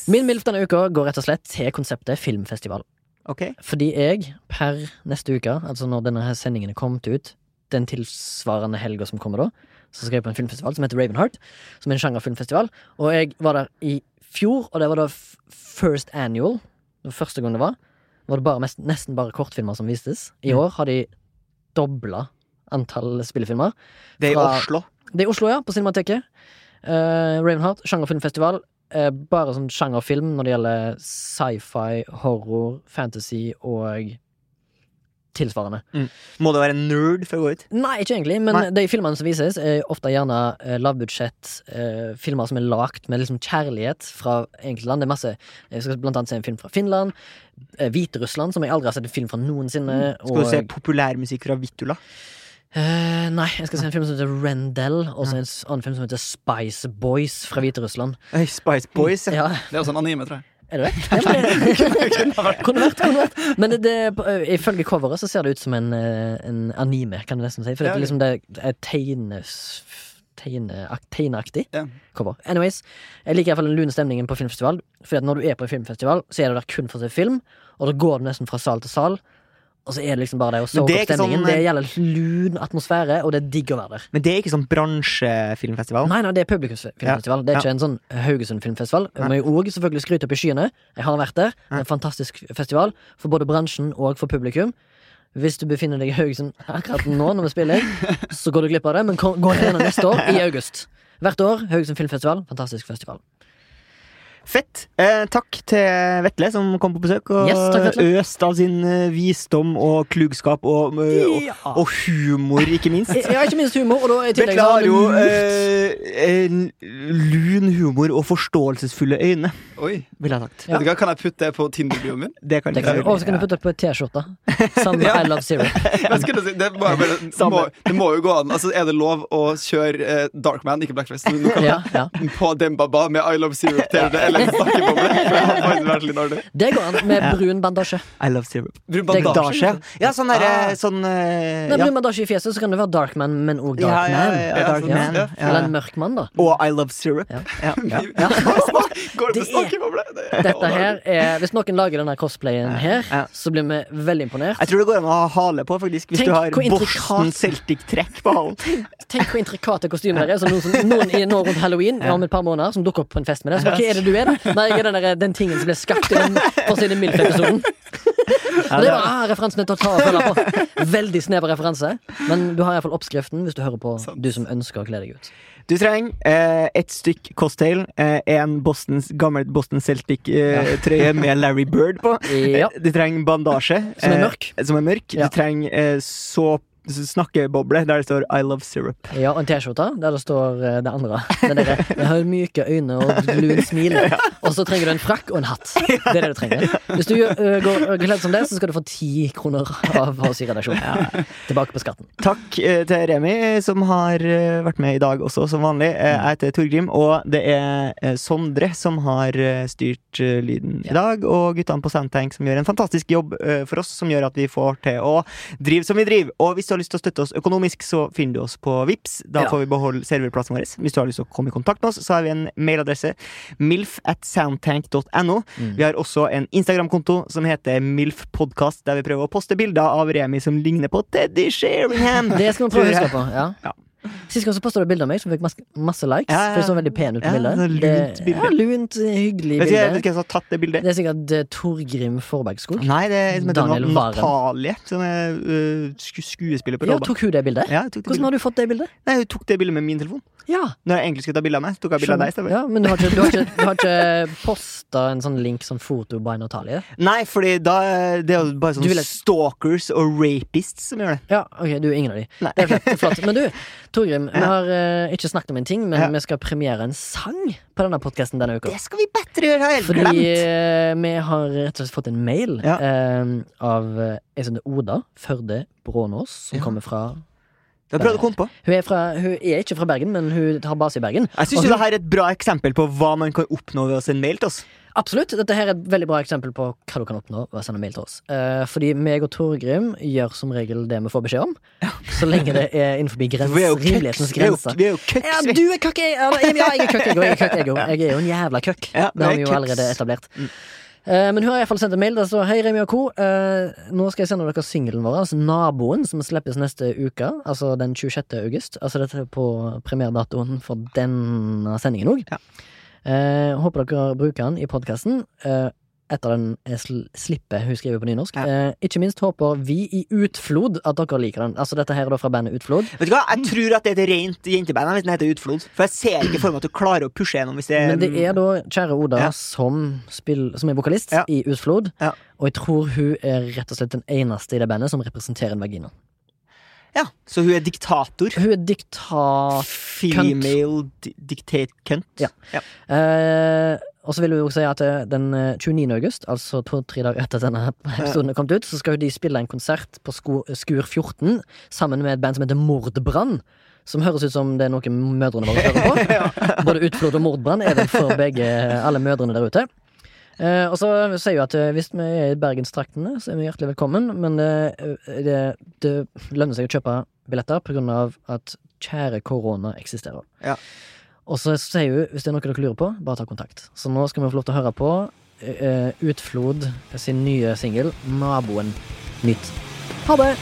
Speaker 1: Min MILF denne uka går rett og slett til konseptet filmfestival.
Speaker 2: Ok
Speaker 1: Fordi jeg, per neste uke, altså når denne her sendingen er kommet ut, den tilsvarende helga som kommer da, så skal jeg på en filmfestival som heter Ravenheart, som er en sjangerfilmfestival. Og jeg var der i fjor, og det var da f- first annual. Det var første gang det var. Nå var det bare, mest, nesten bare kortfilmer som vistes. I år har de dobla antall spillefilmer.
Speaker 2: Det er i
Speaker 1: Fra-
Speaker 2: Oslo.
Speaker 1: Det er i Oslo, ja, på Cinemateket. Eh, Ravenheart, sjangerfilmfestival. Eh, bare sånn sjangerfilm når det gjelder sci-fi, horror, fantasy og tilsvarende.
Speaker 2: Må det være en nerd for å gå ut?
Speaker 1: Nei, ikke egentlig, men
Speaker 2: Nei.
Speaker 1: de filmene som vises, er ofte gjerne eh, lavbudsjett. Eh, filmer som er lagd med liksom kjærlighet fra enkelte land. Det er masse, eh, Jeg skal blant annet se en film fra Finland. Eh, Hviterussland, som jeg aldri har sett en film fra noensinne.
Speaker 2: Mm, Skal du se
Speaker 1: og-
Speaker 2: populærmusikk fra Vittula?
Speaker 1: Eh, nei, jeg skal se en film som heter Rendell, og så en s- annen film som heter Spice Boys fra Hviterussland.
Speaker 2: Øy, Spice Boys. Ja.
Speaker 1: Ja,
Speaker 3: Det er også en anime, tror jeg.
Speaker 1: Er det det? Ja, men- Kunne vært, kunne vært. Men det, det, på- ifølge coveret så ser det ut som en, eh, en anime, kan du nesten si. For det
Speaker 3: Ja,
Speaker 1: er
Speaker 3: ja.
Speaker 1: liksom det er tegnes... Tegne, ak- tegneaktig
Speaker 3: Ja.
Speaker 1: cover. Anyways, jeg liker i hvert fall den lune stemningen på filmfestival. Fordi at når du er på en filmfestival, så er du der kun for å se film, og da går du nesten fra sal til sal. Og så er det liksom bare det å
Speaker 2: Men
Speaker 1: soke
Speaker 2: det er
Speaker 1: opp
Speaker 2: ikke
Speaker 1: stemningen.
Speaker 2: sånn-
Speaker 1: det gjelder lun atmosfære, og det er digg å være der.
Speaker 2: Men det er ikke sånn bransjefilmfestival.
Speaker 1: Nei, nei, det er publikumsfilmfestival. Det er ikke en sånn Haugesund-filmfestival. Jeg må jo òg selvfølgelig skryte opp i skyene. Jeg har vært der. Det er en fantastisk festival for både bransjen og for publikum. Hvis du befinner deg i Haugesund akkurat nå, når vi spiller, så går du glipp av det, men kom- gå igjen neste år, i august. Hvert år. Haugesund filmfestival. Fantastisk festival.
Speaker 2: Fett. Eh, takk til Vetle som kom på besøk og
Speaker 1: Yes, takk, Vetle.
Speaker 2: øste av sin eh, visdom og klugskap og, og,
Speaker 1: Ja.
Speaker 2: og humor, ikke minst.
Speaker 1: Ja, ikke minst humor, og da i tillegg
Speaker 2: Vetle
Speaker 1: så
Speaker 2: har jo
Speaker 1: du-
Speaker 2: eh, en lun humor og forståelsesfulle øyne,
Speaker 3: Oi.
Speaker 2: ville jeg sagt.
Speaker 1: Ja.
Speaker 3: Vet du hva, kan jeg putte det på Tinder-bioen min?
Speaker 2: Det kan
Speaker 1: Det kan du-
Speaker 2: jeg
Speaker 1: Og så kan du putte det på en T-skjorte. Sammen med
Speaker 3: Ja.
Speaker 1: I Love Zero.
Speaker 3: Jeg skulle si, det, må jeg bare, det, må,
Speaker 2: Samme.
Speaker 3: det må jo gå an. Altså, er det lov å kjøre eh, Darkman, ikke Blackface, men du kan-
Speaker 1: Ja, ja.
Speaker 3: på Dembaba med I Love Syrup-TV? lagd snakkeboble. for Det hadde faktisk vært litt artig.
Speaker 1: Det går an med brun bandasje.
Speaker 2: I love syrup.
Speaker 3: Brun
Speaker 1: Det-
Speaker 3: bandasje.
Speaker 2: Dasje, ja. Ja, sånn derre
Speaker 3: Ah.
Speaker 2: sånn eh,
Speaker 1: Nei,
Speaker 2: ja.
Speaker 1: brun bandasje i fjeset, så kan det være Darkman, men òg
Speaker 2: Ja, ja,
Speaker 1: Darkman.
Speaker 2: ja,
Speaker 3: Ja,
Speaker 2: ja, Dark
Speaker 3: sånn,
Speaker 2: Man.
Speaker 3: ja.
Speaker 2: Ja.
Speaker 1: Eller en mørkmann, da.
Speaker 2: Og I love syrup.
Speaker 1: Ja.
Speaker 2: Ja, ja.
Speaker 3: Ja. Går det
Speaker 1: Det
Speaker 3: med snakkeboble? Det er-
Speaker 1: Dette her er, Hvis noen lager denne cosplayen her,
Speaker 2: ja.
Speaker 1: så blir vi veldig
Speaker 2: Jeg
Speaker 1: imponert.
Speaker 2: tror det går an å ha hale på, faktisk, hvis
Speaker 1: Tenk
Speaker 2: du har
Speaker 1: hvor intrikat-
Speaker 2: Boston Celtic-trekk på halen.
Speaker 1: Tenk hvor intrikate kostymer det er. Som noen, som, noen i nå rundt halloween om et par måneder som dukker opp på en fest med det. Så hva er det du er, da? Nei, jeg er den, der, den tingen som ble skapt i den forsiden Milf-episoden. Og det var ah, referansen jeg tar ta og følge på. Veldig snever referanse. Men du har iallfall oppskriften hvis du hører på,
Speaker 3: Sant.
Speaker 1: du som ønsker å kle deg ut.
Speaker 2: Du trenger eh, et stykk cocktail, eh, en Bostons, gammel Boston Celtic-trøye med Larry Bird på.
Speaker 1: Ja.
Speaker 2: Eh, Du trenger bandasje.
Speaker 1: Som er
Speaker 2: eh,
Speaker 1: mørk.
Speaker 2: som er mørk.
Speaker 1: Ja.
Speaker 2: Du trenger eh, såp snakkeboble der det står 'I love syrup'.
Speaker 1: Ja, og en T-skjorte der det står eh, det andre. Den derre jeg har myke øyne og lun smil. Og så trenger du en frakk og en hatt. Det er det du trenger. Hvis du eh, går kledd som det, så skal du få ti kroner av oss i redaksjonen. Tilbake på skatten.
Speaker 2: Takk eh, til Remi, eh, som har eh, vært med i dag også, som vanlig. Eh, jeg heter Torgrim, og det er eh, Sondre som har eh, styrt eh, lyden i dag. Og guttene på Soundtank som gjør en fantastisk jobb eh, for oss, som gjør at vi får til å drive som vi driver. Og hvis du har lyst til å støtte oss økonomisk, så finner du oss på Vips Da
Speaker 1: Ja.
Speaker 2: får vi beholde serverplassen vår. Hvis du har lyst til å komme i kontakt med oss, så har vi en mailadresse milf at soundtank.no. Vi har også en Instagram-konto som heter milfpodkast, der vi prøver å poste bilder av Remi som ligner på Teddy Sheringham.
Speaker 1: Det skal vi prøve å
Speaker 2: Tror jeg.
Speaker 1: huske på. Ja.
Speaker 2: Ja.
Speaker 1: Sist gang så posta du bilde av meg som fikk mas- masse likes.
Speaker 2: Ja, ja, ja.
Speaker 1: For jeg så veldig pen ut på
Speaker 2: Ja,
Speaker 1: bildet.
Speaker 2: det er lunt
Speaker 1: Det-
Speaker 2: bilde.
Speaker 1: Ja, lunt, eh, hyggelig
Speaker 2: Vet du vet du
Speaker 1: bilde.
Speaker 2: hvem som har tatt det bildet?
Speaker 1: Det er sikkert eh, Torgrim Forbergskog.
Speaker 2: Nei, det er som heter
Speaker 1: Daniel
Speaker 2: Nat-
Speaker 1: Waren.
Speaker 2: Natalie, som er øh, sku skuespiller på
Speaker 1: Ja,
Speaker 2: Loba.
Speaker 1: tok hun det bildet?
Speaker 2: Ja, hun tok det
Speaker 1: Hvordan
Speaker 2: bildet.
Speaker 1: har du fått det bildet?
Speaker 2: Nei, hun tok det bildet med min telefon.
Speaker 1: Ja
Speaker 2: Når jeg egentlig skulle ta bilde av meg, så tok jeg bilde av deg. i stedet.
Speaker 1: Ja, men du har ikke, du har ikke, du har ikke posta en sånn link som foto by Natalie?
Speaker 2: Nei, fordi da det er jo bare
Speaker 1: Du
Speaker 2: sånn
Speaker 1: ville-
Speaker 2: stalkers og rapists som gjør det.
Speaker 1: Ja, ok, du er ingen av de.
Speaker 2: Nei.
Speaker 1: Det er flott, flott. Men du, Torgrim, vi
Speaker 2: Ja.
Speaker 1: har eh, ikke snakket om en ting, men
Speaker 2: Ja.
Speaker 1: vi skal premiere en sang på denne podkasten denne uka.
Speaker 2: Det skal vi bedre gjøre, har jeg helt
Speaker 1: Fordi
Speaker 2: glemt!
Speaker 1: eh, vi har rett og slett fått en mail
Speaker 2: Ja.
Speaker 1: eh, av eh, en som heter Oda Førde Brånås, som
Speaker 2: Ja.
Speaker 1: kommer fra
Speaker 2: Jeg prøvde å komme på.
Speaker 1: hun er, fra, hun er ikke fra Bergen, men hun har base i Bergen.
Speaker 2: Jeg syns
Speaker 1: Og
Speaker 2: det her er et bra eksempel på hva man kan oppnå ved å sende mail til oss.
Speaker 1: Absolutt. Dette her er et veldig bra eksempel på hva du kan oppnå ved å sende mail til oss. Eh, fordi meg og Torgrim gjør som regel det vi får beskjed om. Så lenge det er innenfor grens,
Speaker 2: Vi er jo
Speaker 1: rimelighetens
Speaker 2: køks- vi er jo-
Speaker 1: grenser.
Speaker 2: vi er jo køks,
Speaker 1: Ja,
Speaker 2: vi.
Speaker 1: du er køkk, jeg, eller, ja, jeg er køkk, jeg òg. Jeg, er køkk, jeg, også. jeg er jo en jævla køkk. det har
Speaker 2: Ja, det
Speaker 1: vi
Speaker 2: er
Speaker 1: jo
Speaker 2: køks. Mm.
Speaker 1: allerede etablert. Eh, men hun har iallfall sendt en mail der det står Hei, Remi og co. Eh, nå skal jeg sende dere singelen vår, altså Naboen, som slippes neste uke. Altså den 26. august. Altså dette er på premierdatoen for denne sendingen òg.
Speaker 2: Ja.
Speaker 1: Eh, håper dere bruker den i podkasten. Eh, etter den eh, sl slippet hun skriver på nynorsk.
Speaker 2: Ja.
Speaker 1: Eh, ikke minst håper vi i Utflod at dere liker den. Altså dette her er da fra bandet Utflod.
Speaker 2: Vet du hva, Jeg tror at det er et rent jenteband hvis den heter Utflod. For jeg ser ikke for meg at du klarer å pushe gjennom hvis det
Speaker 1: Men det er da kjære Oda
Speaker 2: Ja.
Speaker 1: som, spill, som er vokalist
Speaker 2: Ja.
Speaker 1: i Utflod.
Speaker 2: Ja.
Speaker 1: Og jeg tror hun er rett og slett den eneste i det bandet som representerer en vagina.
Speaker 2: Ja, Så hun er diktator.
Speaker 1: Hun er diktat...
Speaker 2: Female di dictate cunt.
Speaker 1: Ja. Eh, og så vil hun jo si at eh, den eh, 29. august, altså to-tre dager etter at denne episoden er kommet ut, så skal jo de spille en konsert på Sko Skur 14 sammen med et band som heter Mordbrann. Som høres ut som det er noe mødrene våre hører på. Både Utflod og Mordbrann er vel for begge, alle mødrene der ute. Eh, og så sier hun at eh, hvis vi er i bergenstraktene, så er vi hjertelig velkommen, men eh, det, det lønner seg å kjøpe billetter på grunn av at kjære korona eksisterer. Og så sier hun hvis det er noe dere lurer på, bare ta kontakt. Så nå skal vi få lov til å høre på eh, Utflod sin nye singel 'Naboen'. Nytt. Ha det!